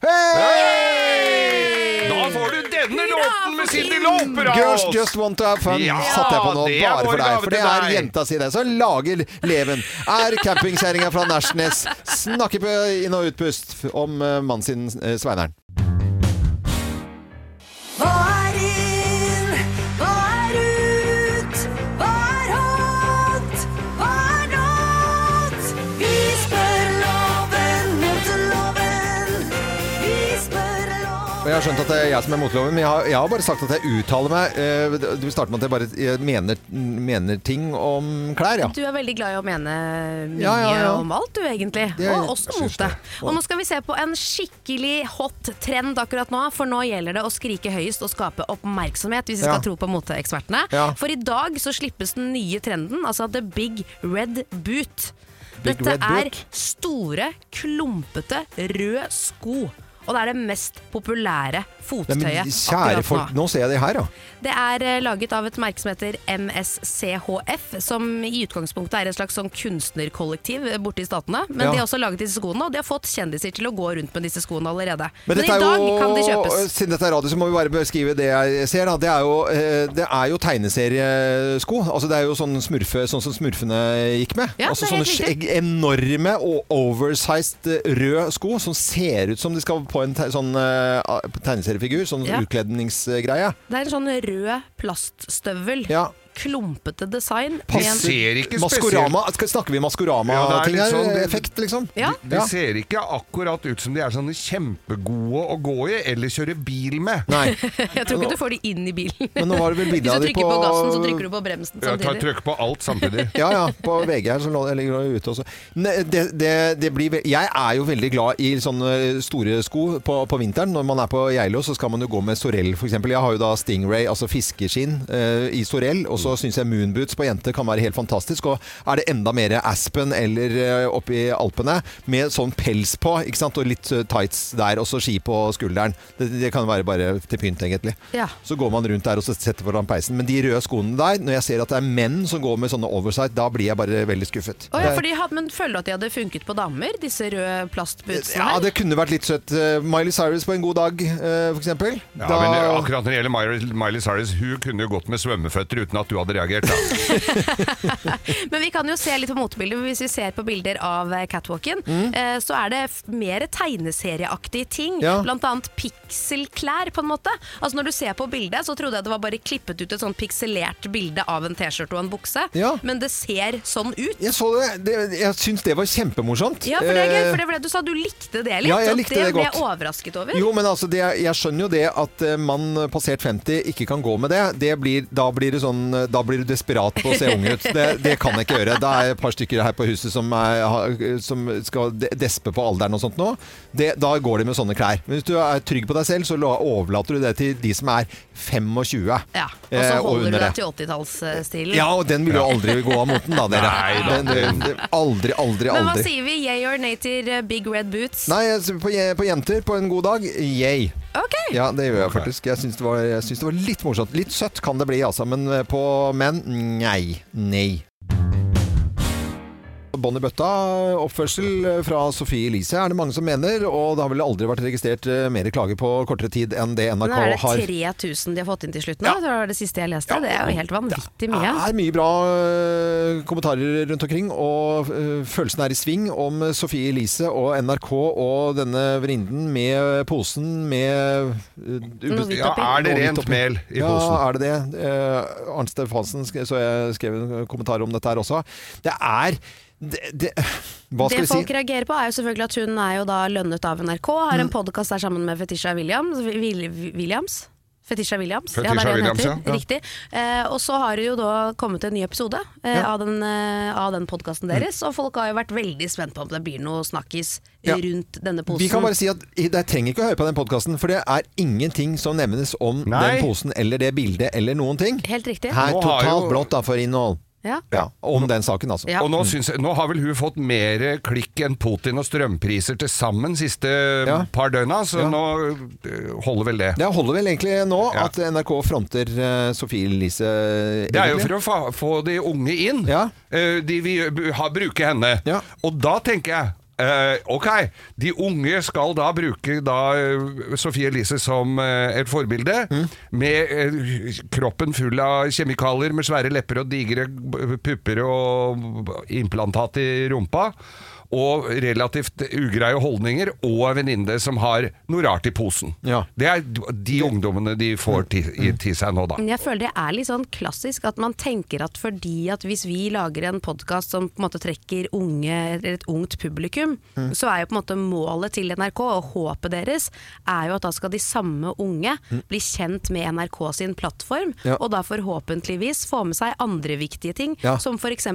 Speaker 3: Da får du denne låten med Cindy Lauper av
Speaker 1: Girls
Speaker 3: oss!
Speaker 1: Just Want To Have Fun
Speaker 3: Ja,
Speaker 1: satte jeg på nå,
Speaker 3: det er
Speaker 1: bare
Speaker 3: vår
Speaker 1: for deg.
Speaker 3: gave
Speaker 1: For det
Speaker 3: til
Speaker 1: er
Speaker 3: deg.
Speaker 1: jenta si det, som lager leven. Er campingkjerringa fra Nærsnes. Snakker på inn- og utpust om eh, mannen sin, eh, Sveineren.
Speaker 11: Hva er inn? Hva er ut? Hva er hot? Hva er not? Vi spør loven mot loven. Vi spør loven.
Speaker 1: Og jeg har skjønt at det er jeg som er motloven, men jeg har, jeg har bare sagt at jeg uttaler meg. eh, Du starter med at jeg bare eh, mener, mener ting om klær, ja.
Speaker 2: Du er veldig glad i å mene mye
Speaker 1: Ja, ja, ja.
Speaker 2: om alt, du egentlig.
Speaker 1: Det er-
Speaker 2: og også
Speaker 1: jeg syns
Speaker 2: mote.
Speaker 1: det.
Speaker 2: Og nå skal vi se på en skikkelig hot trend akkurat nå, for nå gjelder det å skrike høyest og skape oppmerksomhet, hvis vi
Speaker 11: Ja.
Speaker 2: skal tro på moteekspertene.
Speaker 11: Ja.
Speaker 2: For i dag så slippes den nye trenden, altså The Big Red Boot.
Speaker 11: Big
Speaker 2: Dette
Speaker 11: Red
Speaker 2: er
Speaker 11: Boot?
Speaker 2: store, klumpete, røde sko. Og det er det mest populære
Speaker 1: Nei,
Speaker 2: fottøyet
Speaker 1: men kjære
Speaker 2: akkurat nå.
Speaker 1: folk, nå ser jeg de her, ja.
Speaker 2: Det er eh, laget av et merke som heter MSCHF, som i utgangspunktet er et slags sånn kunstnerkollektiv eh, borte i statene. Men
Speaker 1: Ja.
Speaker 2: de har også laget disse skoene, og de har fått kjendiser til å gå rundt med disse skoene allerede.
Speaker 1: Men
Speaker 2: Men,
Speaker 1: dette
Speaker 2: i
Speaker 1: er
Speaker 2: dag
Speaker 1: jo, eh,
Speaker 2: kan de kjøpes.
Speaker 1: Siden dette er radio, så må vi bare beskrive det jeg ser. Da. Det, er jo, eh, det er jo tegneseriesko. Altså, det er jo sånn, smurfe, sånn som smurfene gikk med.
Speaker 2: Ja,
Speaker 1: altså,
Speaker 2: det er helt
Speaker 1: sånne
Speaker 2: riktig.
Speaker 1: skjegg- enorme og oversized eh, røde sko som ser ut som de skal på en te sånn, eh, tegneseriefigur. Sånn
Speaker 2: Ja.
Speaker 1: utkledningsgreie.
Speaker 2: Det er en sånn rød plaststøvel. Klumpete design. med
Speaker 1: Passer-
Speaker 2: en-
Speaker 1: Maskorama. Skal, snakker vi
Speaker 3: Ja, det er
Speaker 1: Maskorama-ting
Speaker 3: litt
Speaker 1: her?
Speaker 3: sånn-
Speaker 1: effekt, liksom?
Speaker 3: De, de ser ikke akkurat ut som de er sånne kjempegode å gå i eller kjøre bil med.
Speaker 1: Nei.
Speaker 2: (laughs) Jeg tror ikke du får de inn i bilen.
Speaker 1: Men nå var det vel
Speaker 2: Hvis
Speaker 1: bildet av
Speaker 2: du
Speaker 1: de
Speaker 2: trykker på,
Speaker 1: på-
Speaker 2: gassen, så trykker du på bremsen
Speaker 3: Jeg tar
Speaker 2: samtidig.
Speaker 3: trykk på alt samtidig.
Speaker 1: (laughs) ja, ja. På VG her så lå- ligger det ute også. Ne, det, det, det blir, ve- jeg er jo veldig glad i sånne store sko på, på vinteren. Når man er på Geilo, så skal man jo gå med Sorell f.eks. Jeg har jo da Stingray, altså fiskeskinn, eh, i Sorell. Og så syns jeg Moonboots på jenter kan være helt fantastisk. Og er det enda mer Aspen eller eh, oppe i Alpene med sånn pels på, ikke sant, og litt eh, tights der, og så ski på skulderen. Det, det kan være bare til pynt, egentlig.
Speaker 2: Ja.
Speaker 1: Så går man rundt der og så setter foran peisen. Men de røde skoene der, når jeg ser at det er menn som går med sånne oversight, da blir jeg bare veldig skuffet.
Speaker 2: Å ja,
Speaker 1: Det er-
Speaker 2: for de had- men føler du at de hadde funket på damer, disse røde plastbootsene?
Speaker 1: ja, det kunne vært litt søtt. Eh, Miley Cyrus på en god dag, eh, for eksempel.
Speaker 3: Ja,
Speaker 1: Da-
Speaker 3: men eh, akkurat når det gjelder Miley, Miley Cyrus, hun kunne jo gått med svømmeføtter uten at du hadde reagert. Da.
Speaker 2: Men vi kan jo se litt på motebilder. Hvis vi ser på bilder av eh, catwalken,
Speaker 1: Mm.
Speaker 2: eh, så er det f- mer tegneserieaktige ting.
Speaker 11: Ja.
Speaker 2: Blant annet pikselklær, på en måte. Altså Når du ser på bildet, så trodde jeg det var bare klippet ut et sånn pikselert bilde av en T-skjorte og en bukse.
Speaker 1: Ja.
Speaker 2: Men det ser sånn ut.
Speaker 1: Jeg så det, det jeg syns det var kjempemorsomt.
Speaker 2: Ja, for det er gøy,
Speaker 1: Eh,
Speaker 2: for det var det du sa. Du likte det litt.
Speaker 1: Ja, jeg
Speaker 2: og
Speaker 1: likte
Speaker 2: det
Speaker 1: det
Speaker 2: ble
Speaker 1: godt.
Speaker 2: jeg overrasket over.
Speaker 1: Jo, men altså, det, jeg skjønner jo det at eh, mann passert 50 ikke kan gå med det. det blir, da, blir det sånn, eh, da blir du desperat på å se ung ut. Det, det kan jeg ikke gjøre. Det er et par stykker her på huset som, er, har- som skal de- despe på alderen og sånt nå. Det, da går de med sånne klær. Men hvis du er trygg på deg selv, så la- overlater du det til de som er 25.
Speaker 2: Ja, Og
Speaker 1: eh,
Speaker 2: så holder du
Speaker 1: under
Speaker 2: deg til 80-tallsstilen.
Speaker 1: Ja, og den vil jo aldri gå av moten, da, dere.
Speaker 3: Nei da.
Speaker 1: Den- den- den- aldri, aldri,
Speaker 2: Men hva
Speaker 1: aldri.
Speaker 2: sier vi? Yay or nay til eh, Big Red Boots?
Speaker 1: Nei, jeg- på, je- på jenter på en god dag, yay. Ja, det gjør jeg faktisk. Jeg syns det, var- jeg syns det var litt morsomt. Litt søtt kan det bli, altså. Men eh, på menn, nei. Nei. bånd i bøtta-oppførsel fra Sofie Elise, er det mange som mener. Og det har vel aldri vært registrert eh, mer klager på kortere tid enn det
Speaker 2: Men
Speaker 1: NRK
Speaker 2: er det
Speaker 1: har.
Speaker 2: 3000 de har fått inn til slutt nå? Det var det siste jeg leste. Det er jo helt vanvittig mye.
Speaker 1: Det er mye bra øh, kommentarer rundt omkring, og øh, følelsen er i sving om Sofie Elise og NRK og denne vrinden med posen med øh,
Speaker 3: Noe hvitt Ja, oppi. er det
Speaker 1: Noe hvitt
Speaker 3: rent
Speaker 1: oppi.
Speaker 3: mel i
Speaker 1: ja,
Speaker 3: posen?
Speaker 1: er det det? Eh, Arnt Stefansen sk- så jeg skrev en kommentar om dette her også. Det er det, det, Hva skal
Speaker 2: det
Speaker 1: vi si?
Speaker 2: folk reagerer på er jo selvfølgelig at hun er jo da lønnet av NRK, har
Speaker 1: Mm.
Speaker 2: en podkast der sammen med Fetisha Williams. Vil- Williams? Fetisha Williams,
Speaker 11: Fetisha
Speaker 2: det er det hun
Speaker 11: Williams,
Speaker 2: heter.
Speaker 11: ja. Ja.
Speaker 2: Riktig. Eh, og så har det jo da kommet en ny episode eh, av den, eh, av den podkasten
Speaker 1: Mm.
Speaker 2: deres, og folk har jo vært veldig spent på om det blir noe snakkis
Speaker 1: Ja.
Speaker 2: rundt denne posen.
Speaker 1: Vi kan bare si at dere trenger ikke å høre på den podkasten, for det er ingenting som nevnes om
Speaker 2: Nei.
Speaker 1: den posen eller det bildet eller noen ting.
Speaker 2: Helt riktig.
Speaker 1: Her
Speaker 3: Nå har
Speaker 1: totalt
Speaker 3: jo-
Speaker 1: blått da for innhold.
Speaker 2: Ja.
Speaker 1: Ja, om den saken, altså.
Speaker 3: Og nå, syns jeg, nå har vel hun fått mer klikk enn Putin og strømpriser til sammen siste par døgna, så
Speaker 1: Ja.
Speaker 3: nå øh, holder vel det.
Speaker 1: Det holder vel egentlig nå at NRK fronter eh, Sofie Elise
Speaker 3: Det er jo for å fa få de unge inn. Eh, de vil b- ha, bruke henne. Og da tenker jeg eh, ok, de unge skal da bruke da eh, Sofie Elise som eh, et forbilde. Med eh, kroppen full av kjemikalier, med svære lepper og digre b- pupper og implantat i rumpa. Og relativt ugreie holdninger, og en venninne som har noe rart i posen. Det er d- de ungdommene de får til, i, til seg nå, da.
Speaker 2: Men jeg føler det er litt sånn klassisk at man tenker at fordi at hvis vi lager en podkast som på en måte trekker unge, eller et ungt publikum,
Speaker 11: Mm.
Speaker 2: så er jo på en måte målet til NRK og håpet deres er jo at da skal de samme unge
Speaker 11: Mm.
Speaker 2: bli kjent med NRK sin plattform,
Speaker 11: Ja.
Speaker 2: og da forhåpentligvis få med seg andre viktige ting,
Speaker 1: Ja.
Speaker 2: som f.eks.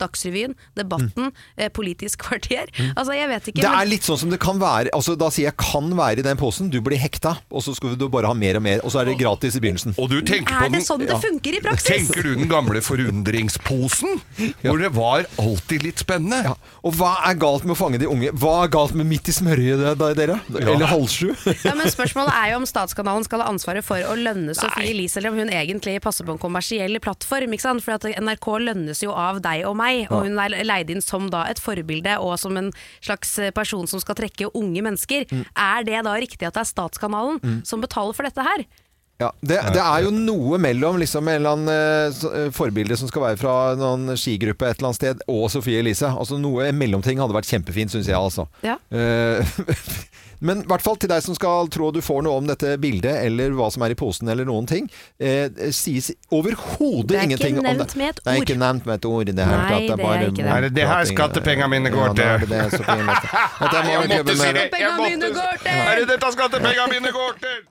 Speaker 2: Dagsrevyen, Debatten, eh, Politisk kvarter.
Speaker 1: Mm.
Speaker 2: Altså jeg vet ikke.
Speaker 1: Det er
Speaker 2: men-
Speaker 1: litt sånn som det kan være altså Da sier jeg 'kan være' i den posen. Du blir hekta, og så skal du bare ha mer og mer. Og så er det gratis i begynnelsen.
Speaker 3: Og du tenker på
Speaker 2: er det
Speaker 3: den-
Speaker 2: sånn det funker i praksis?
Speaker 3: Tenker du den gamle forundringsposen? Hvor det var alltid litt spennende.
Speaker 1: Og hva er galt med å fange de unge? Hva er galt med midt i smørøyet, da, dere? Eller halv sju?
Speaker 3: (laughs)
Speaker 2: Ja, men Spørsmålet er jo om Statskanalen skal ha ansvaret for å lønne Sofie Elise, eller om hun egentlig passer på en kommersiell plattform. ikke sant? For at NRK lønnes jo av deg og meg, og
Speaker 11: Ja.
Speaker 2: hun er leid inn som da et forbilde og som en slags person som skal trekke unge mennesker.
Speaker 1: Mm.
Speaker 2: Er det da riktig at det er Statskanalen
Speaker 1: Mm.
Speaker 2: som betaler for dette her?
Speaker 1: Ja, det, det er jo noe mellom liksom, en eller annen eh, så- eh, forbilde som skal være fra noen skigruppe et eller annet sted, og Sofie Elise. Altså Noe mellomting hadde vært kjempefint, syns jeg. altså.
Speaker 2: Ja.
Speaker 1: Eh, (laughs) Men i hvert fall til deg som skal tro du får noe om dette bildet, eller hva som er i posen, eller noen ting, eh, sies
Speaker 2: Det er
Speaker 1: overhodet
Speaker 2: ikke
Speaker 1: ingenting om det.
Speaker 2: nevnt med et
Speaker 1: Det er
Speaker 2: ord.
Speaker 1: ikke nevnt med et ord. i Det
Speaker 2: Nei,
Speaker 1: hele tatt.
Speaker 2: det er
Speaker 1: bare
Speaker 2: ikke det.
Speaker 1: vondt
Speaker 3: Er det det her
Speaker 1: prating.
Speaker 3: skattepengene mine går
Speaker 1: Ja, nå er det
Speaker 3: til?
Speaker 1: det, Sofie
Speaker 3: (laughs)
Speaker 1: Elise. Dette må vi klubbe med.
Speaker 3: Er det dette skattepengene mine går til?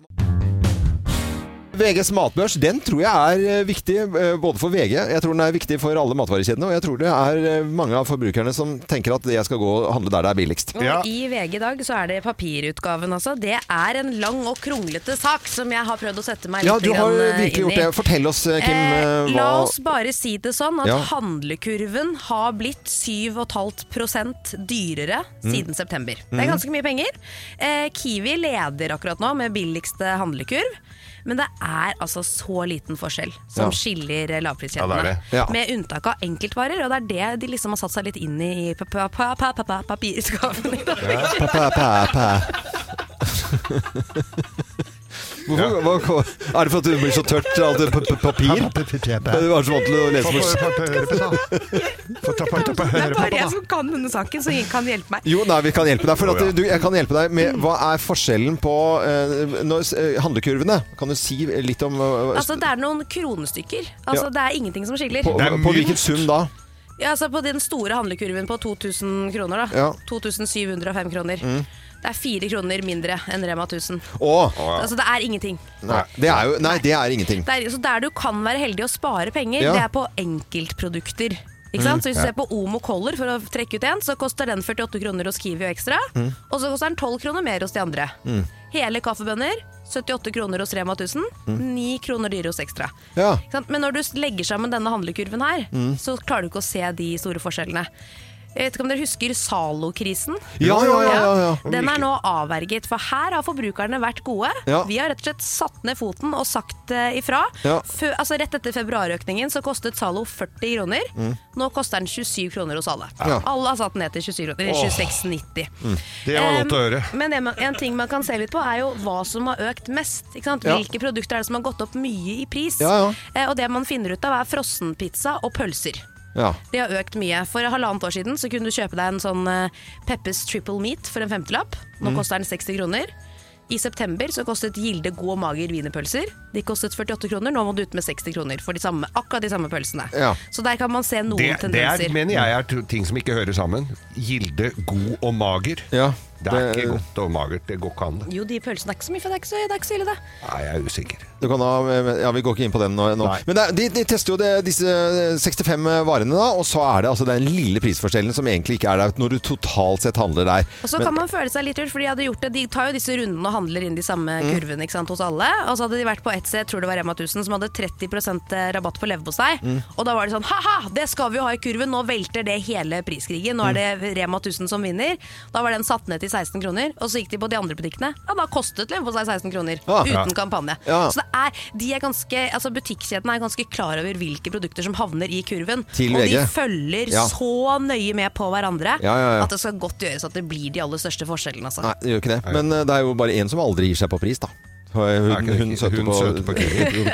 Speaker 1: VGs matbørs den tror jeg er eh, viktig eh, både for VG, jeg tror den er viktig for alle matvarekjedene, og jeg tror det er eh, mange av forbrukerne som tenker at jeg skal gå og handle der det er billigst.
Speaker 2: Og I VG i dag så er det papirutgaven, altså. Det er en lang og kronglete sak som jeg har prøvd å sette meg
Speaker 1: Ja,
Speaker 2: litt
Speaker 1: du har
Speaker 2: grann, eh,
Speaker 1: virkelig
Speaker 2: inn
Speaker 1: gjort
Speaker 2: i.
Speaker 1: det. Fortell oss, eh, Kim,
Speaker 2: Eh,
Speaker 1: eh, hva
Speaker 2: La oss bare si det sånn at
Speaker 1: Ja.
Speaker 2: handlekurven har blitt 7,5 dyrere
Speaker 11: Mm.
Speaker 2: siden september. Det
Speaker 11: Mhm.
Speaker 2: er ganske mye penger. Eh, Kiwi leder akkurat nå med billigste handlekurv. Men det er altså så liten forskjell som
Speaker 11: Ja.
Speaker 2: skiller eh, lavpriskjedene.
Speaker 11: Ja, det er det. Ja.
Speaker 2: Med unntak av enkeltvarer, og det er det de liksom har satt seg litt inn i i pa- pa- pa- pa- pa- pa- papirutgaven i dag.
Speaker 1: Pa, pa, pa, pa. Hvorfor, hva, hva- er det for at du blir så tørt av alt det pa- pa- papir? Du var så vant til å lese
Speaker 2: Det er bare
Speaker 1: bort.
Speaker 2: (laughs) jeg som kan denne saken, så ingen kan hjelpe meg.
Speaker 1: Jo, nei, vi kan hjelpe deg. For at
Speaker 2: Å, ja.
Speaker 1: du, jeg kan hjelpe deg med hva er forskjellen på eh, når, eh, handlekurvene? Kan du si litt om eh,
Speaker 2: Altså, det er noen kronestykker. Altså,
Speaker 1: Ja.
Speaker 2: Det er ingenting som skiller.
Speaker 1: På, på hvilken sum da?
Speaker 2: Ja, altså på den store handlekurven på 2000 kroner da
Speaker 1: Ja.
Speaker 2: 2705 kroner
Speaker 1: Mm.
Speaker 2: Det er fire kroner mindre enn Rema 1000
Speaker 1: Å!
Speaker 2: Altså det er ingenting
Speaker 1: Nei, det er jo Nei, det er ingenting.
Speaker 2: det er, Så der du kan være heldig å spare penger
Speaker 1: Ja.
Speaker 2: Det er på enkeltprodukter ikke
Speaker 1: Mm.
Speaker 2: sant? Så hvis du
Speaker 1: Ja.
Speaker 2: ser på Omo Color for å trekke ut en Så koster den 48 kroner hos Kiwi og ekstra
Speaker 11: Mm.
Speaker 2: Og så koster den 12 kroner mer hos de andre
Speaker 11: Mm.
Speaker 2: Hele kaffebønner 78 kroner hos Rema 1000
Speaker 11: Mm.
Speaker 2: 9 kroner dyre hos ekstra
Speaker 1: Ja.
Speaker 2: Ikke sant? Men når du legger sammen denne handlekurven her,
Speaker 11: Mm.
Speaker 2: så klarer du ikke å se de store forskjellene. Jeg vet ikke om dere husker Zalo-krisen?
Speaker 1: Ja, ja, ja, ja, ja.
Speaker 2: Den er nå avverget, for her har forbrukerne vært gode.
Speaker 1: Ja.
Speaker 2: Vi har rett og slett satt ned foten og sagt eh, ifra.
Speaker 1: Ja.
Speaker 2: Fø- altså rett etter februarøkningen så kostet Zalo 40 kroner.
Speaker 1: Mm.
Speaker 2: Nå koster den 27 kroner hos alle.
Speaker 3: Ja.
Speaker 2: Alle har satt den ned til 27 kroner.
Speaker 3: Åh. Mm.
Speaker 2: 26,90.
Speaker 3: Det var
Speaker 2: Em,
Speaker 3: godt å høre.
Speaker 2: Men en, en ting man kan se litt på, er jo hva som har økt mest. Ikke sant?
Speaker 3: Ja.
Speaker 2: Hvilke produkter er det som har gått opp mye i pris?
Speaker 1: Ja, ja.
Speaker 2: Eh, Og det man finner ut av, er frossenpizza og pølser.
Speaker 1: Ja.
Speaker 2: Det har økt mye. For halvannet år siden så kunne du kjøpe deg en sånn eh, Peppes triple meat for en femtelapp. Nå
Speaker 1: Mm.
Speaker 2: koster den 60 kroner. I september så kostet Gilde god og mager wienerpølser. De kostet 48 kroner, nå må du ut med 60 kroner for de samme, akkurat de samme pølsene.
Speaker 3: Ja.
Speaker 2: Så der kan man se noen
Speaker 3: Det, det
Speaker 2: tendenser.
Speaker 3: er, mener jeg er to- ting som ikke hører sammen. Gilde, god og mager. det er ikke godt og magert. Det går ikke an. det.
Speaker 2: Jo, de pølsene er ikke så mye, for det er ikke så, det er ikke så ille, det.
Speaker 3: Nei, jeg er usikker.
Speaker 1: Du kan ha, ja, Vi går ikke inn på den nå. nå. Men det, er- de, de tester jo det, disse 65 varene, da, og så er det altså den lille prisforskjellen som egentlig ikke er der når du totalt sett handler der.
Speaker 2: Og så
Speaker 1: Men-
Speaker 2: kan man føle seg litt lurt, for de hadde gjort det. De tar jo disse rundene og handler inn de samme
Speaker 1: Mm.
Speaker 2: kurvene ikke sant, hos alle. Og så hadde de vært på ett sted, jeg tror det var Rema 1000, som hadde 30 rabatt på leverpostei.
Speaker 11: Mm.
Speaker 2: Og da var det sånn ha-ha, det skal vi jo ha i kurven, nå velter det hele priskrigen. Nå er
Speaker 1: Mm.
Speaker 2: det Rema 1000 som vinner. Da var den satt ned til 16 kroner, og så gikk de på de andre butikkene. Ja, da kostet leverpostei 16 kroner.
Speaker 11: Ja.
Speaker 2: Uten
Speaker 11: Ja.
Speaker 2: kampanje.
Speaker 11: Ja.
Speaker 2: Så det er, de er ganske, altså butikkjedene er ganske klar over hvilke produkter som havner i kurven.
Speaker 1: Til
Speaker 2: og de
Speaker 1: VG.
Speaker 2: følger
Speaker 1: Ja.
Speaker 2: så nøye med på hverandre
Speaker 1: Ja, ja, ja.
Speaker 2: at det skal godt gjøres at det blir de aller største forskjellene. Altså.
Speaker 1: Nei, det gjør ikke det. Men eh, det er jo bare én som aldri gir seg på pris, da. Hun, hun, hun søter (laughs) på,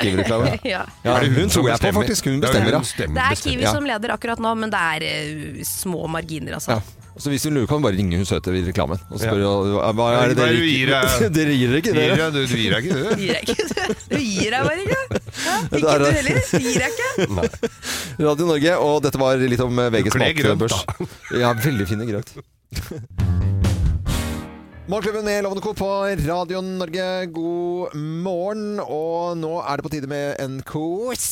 Speaker 1: Kiwi-reklame.
Speaker 2: (laughs) Ja.
Speaker 1: Ja,
Speaker 3: Er det hun
Speaker 1: hun
Speaker 3: som
Speaker 1: tror jeg på,
Speaker 3: bestemmer?
Speaker 1: faktisk. Hun
Speaker 3: Det er hun
Speaker 1: bestemmer, ja.
Speaker 3: bestemmer,
Speaker 2: Det er Kiwi som leder akkurat nå, men det er eh, små marginer, altså.
Speaker 1: Ja. Så hvis du lurer, kan du bare ringe hun søte i reklamen og spørre hva- hva
Speaker 3: Ja,
Speaker 1: er det
Speaker 3: hva er
Speaker 1: dere
Speaker 3: det du gir
Speaker 1: ikke (laughs)
Speaker 3: deg?
Speaker 1: Dere gir dere ikke
Speaker 3: Gir
Speaker 1: dere?
Speaker 3: deg- du- du gir deg ikke,
Speaker 2: Gir
Speaker 1: (laughs)
Speaker 2: jeg ikke? (laughs) Du gir deg bare ikke? Hæ?
Speaker 1: Det
Speaker 2: Ikke
Speaker 1: er-
Speaker 2: du heller? Gir jeg ikke?
Speaker 1: Radio Norge, og dette var litt om eh, VGs
Speaker 3: kler grønt,
Speaker 1: matbørs. Ja, veldig fine grønt. Morgenklubben med Lovende Co. på Radio Norge, god morgen. Og nå er det på tide med en quiz.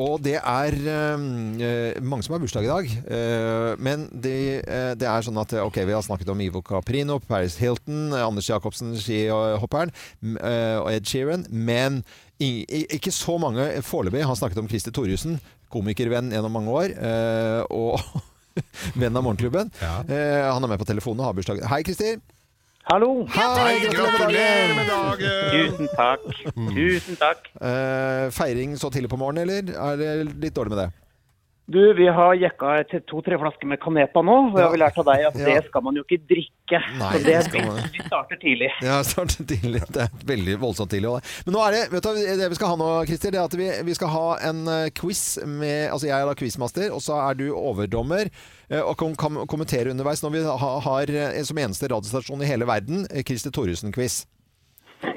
Speaker 1: Og det er eh, mange som har bursdag i dag. Eh, men det, eh, det er sånn at eh, ok, vi har snakket om Ivo Caprino, Paris Hilton, eh, Anders Jacobsen, skihopperen, m- eh, og Ed Sheeran. Men i- i- ikke så mange foreløpig har snakket om Christer Thoriussen, komikervenn gjennom mange år. eh, og (laughs) venn av morgenklubben. Eh, han er med på telefonen og har bursdag. Hei, Christer.
Speaker 13: Hallo.
Speaker 1: Hei, gratulerer med dagen!
Speaker 13: Tusen takk. Tusen takk.
Speaker 1: Eh, feiring så tidlig på morgenen, eller? Er det litt dårlig med det?
Speaker 13: Du, vi har jekka et- to-tre flasker med Canepa nå, og jeg har lært av deg at
Speaker 1: Ja.
Speaker 13: det skal man jo ikke drikke.
Speaker 1: Nei,
Speaker 13: så det
Speaker 1: det skal man ikke.
Speaker 13: vi starter (laughs) tidlig.
Speaker 1: Ja, (laughs) startet tidlig. Det er veldig voldsomt tidlig. også. Men nå er det, vet du, hva det vi skal ha nå, Christer, det er at vi, vi skal ha en eh, quiz med Altså, jeg er da quizmaster, og så er du overdommer. eh, Og kan, kan kommentere underveis når vi ha, har eh, som eneste radiostasjon i hele verden eh, Christer Thoresen-quiz. (laughs)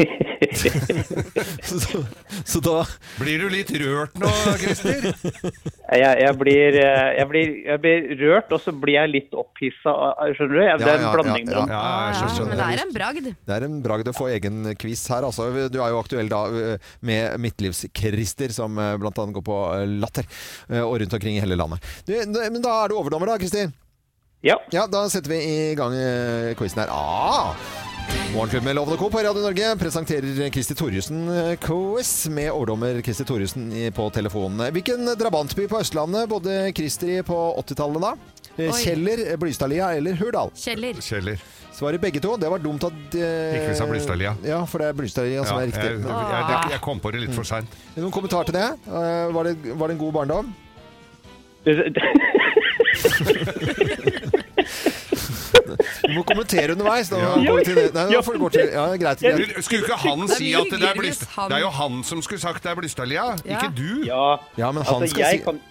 Speaker 1: så, så da
Speaker 3: Blir du litt rørt nå, Christer?
Speaker 13: Jeg, jeg, blir, eh, jeg, blir, jeg blir rørt, og så blir jeg litt opphissa. Skjønner du? Jeg- Det er en blanding mellom
Speaker 2: Ja, men det er en bragd.
Speaker 1: Det er en bragd å få egen quiz her, altså. Du er jo aktuell da eh, med Midtlivs-Christer, som eh, blant annet går på eh, Latter, eh, og rundt omkring i hele landet. Du, n- men da er du overdommer, da, Kristin?
Speaker 13: Ja.
Speaker 1: Da setter vi i gang eh, quizen her. Ah! Morgenklubben med Lovende Co. på Radio Norge presenterer Kristi Thorjussen-quiz med overdommer Kristi Thorjussen i- på telefonen. Hvilken drabantby på Østlandet bodde Krister i på 80-tallet, da? Eh,
Speaker 2: Oi.
Speaker 1: Kjeller, eh, Blystadlia eller Hurdal?
Speaker 2: Kjeller.
Speaker 1: Svaret begge to. Det var dumt at eh,
Speaker 3: Ikke vi sa Blystadlia.
Speaker 1: Ja, for det er Blystadlia som er riktig.
Speaker 3: jeg, jeg, jeg, jeg kom på det litt for seint.
Speaker 1: Men Noen kommentar til det? Eh, var, det var det en god barndom? Du må kommentere underveis. Da,
Speaker 3: Ja.
Speaker 1: går vi til det. Nei, da får du gå til Ja, greit. greit.
Speaker 3: Du, Skulle ikke han
Speaker 1: Det er
Speaker 3: si
Speaker 1: mye
Speaker 3: at det er
Speaker 1: gøyere hvis
Speaker 3: Blystad...
Speaker 1: han-
Speaker 3: Det er jo han som skulle sagt det er Blystadlia,
Speaker 1: Ja.
Speaker 3: ikke du.
Speaker 13: Ja,
Speaker 1: Ja, men han
Speaker 13: altså,
Speaker 1: skal
Speaker 13: jeg
Speaker 1: si
Speaker 13: kan (laughs)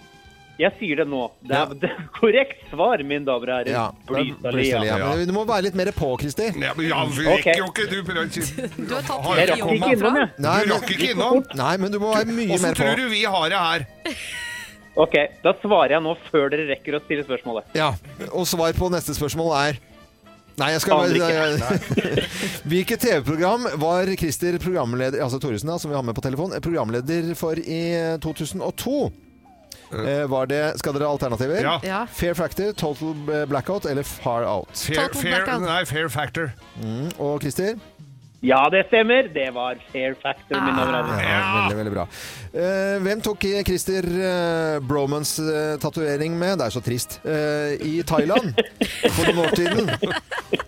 Speaker 13: Jeg sier det nå. Det er, det er korrekt svar, mine damer og herrer.
Speaker 1: ja, Blystadlia.
Speaker 13: Blystadlia.
Speaker 1: Men du må være litt mer på, Kristi.
Speaker 3: Ja, men ja, vi
Speaker 1: Ok.
Speaker 3: rekker jo ikke du prøver-
Speaker 2: Du har tatt
Speaker 3: Har
Speaker 1: Jeg
Speaker 3: ikke
Speaker 1: rakk
Speaker 3: kommet
Speaker 1: ikke innom,
Speaker 3: fra.
Speaker 1: jeg. Nei,
Speaker 3: Du
Speaker 1: men-
Speaker 3: rakk ikke innom.
Speaker 1: Nei, men du må være mye
Speaker 3: Åssen
Speaker 1: mer på.
Speaker 3: tror du vi har det her?
Speaker 13: OK, da svarer jeg nå før dere rekker å stille spørsmålet.
Speaker 1: Ja, Og svar på neste spørsmål er Nei, jeg skal
Speaker 13: Aner
Speaker 1: bare
Speaker 13: ikke.
Speaker 1: (laughs) Hvilket TV-program var Christer programleder Altså Thoresen, da, som vi har med på telefon, programleder for i 2002? Eh, var det Skal dere ha alternativer?
Speaker 3: Ja. Ja.
Speaker 1: Fair Factor, Total Blackout eller Far Out?
Speaker 3: Fair, fair, nei, fair factor.
Speaker 1: Mm, og Christer?
Speaker 13: Ja, det stemmer. Det var fair factor, min
Speaker 1: Ja,
Speaker 13: overraskelse.
Speaker 1: veldig, veldig bra. Eh, hvem tok Christer eh, Bromans eh, tatovering med? Det er så trist. Eh, I Thailand for noen år siden.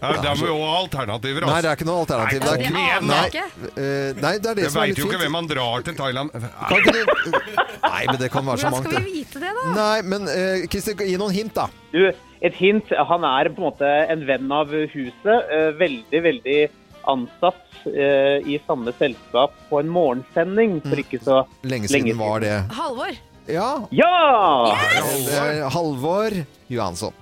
Speaker 3: Ja, da må vi jo ha alternativer. altså.
Speaker 1: Nei, det er ikke noe alternativ.
Speaker 3: Nei,
Speaker 1: Det er-
Speaker 3: kom igjen,
Speaker 1: nei,
Speaker 3: da.
Speaker 1: eh, nei, det er det
Speaker 3: Jeg
Speaker 1: som er litt
Speaker 3: veit jo ikke
Speaker 1: fint.
Speaker 3: hvem han drar til Thailand
Speaker 1: Kan ikke du- Nei, men det kan være så mangt. det.
Speaker 2: vite det,
Speaker 13: da?
Speaker 1: Nei, men eh, Christer, gi noen hint, da.
Speaker 13: Du, et hint. Han er på en måte en venn av huset. eh, Veldig, veldig ansatt eh, i samme selskap på en morgensending for ikke så
Speaker 1: Mm. Lenge siden var det.
Speaker 2: Halvor.
Speaker 1: Ja!
Speaker 13: Ja!
Speaker 1: Det er Halvor Johansson.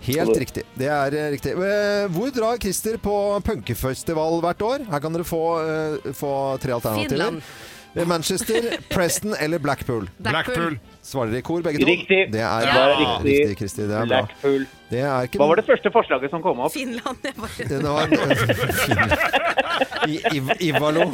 Speaker 1: Helt riktig. Det er eh, riktig. Eh, Hvor drar Christer på punkefestival hvert år? Her kan dere få, eh, få tre alternativer.
Speaker 3: Finland.
Speaker 1: Eh, Manchester, Preston eller Blackpool.
Speaker 3: Blackpool.
Speaker 1: Svarer dere i kor, begge to?
Speaker 13: Riktig.
Speaker 1: Det er
Speaker 13: Ja.
Speaker 1: riktig,
Speaker 13: Riktig.
Speaker 1: Christer. Det er bra.
Speaker 13: Blackpool.
Speaker 1: Det er ikke
Speaker 13: Hva var det første forslaget som kom opp?
Speaker 2: Finland. Jeg bare...
Speaker 1: Det var (laughs) I, Iv Ivalo.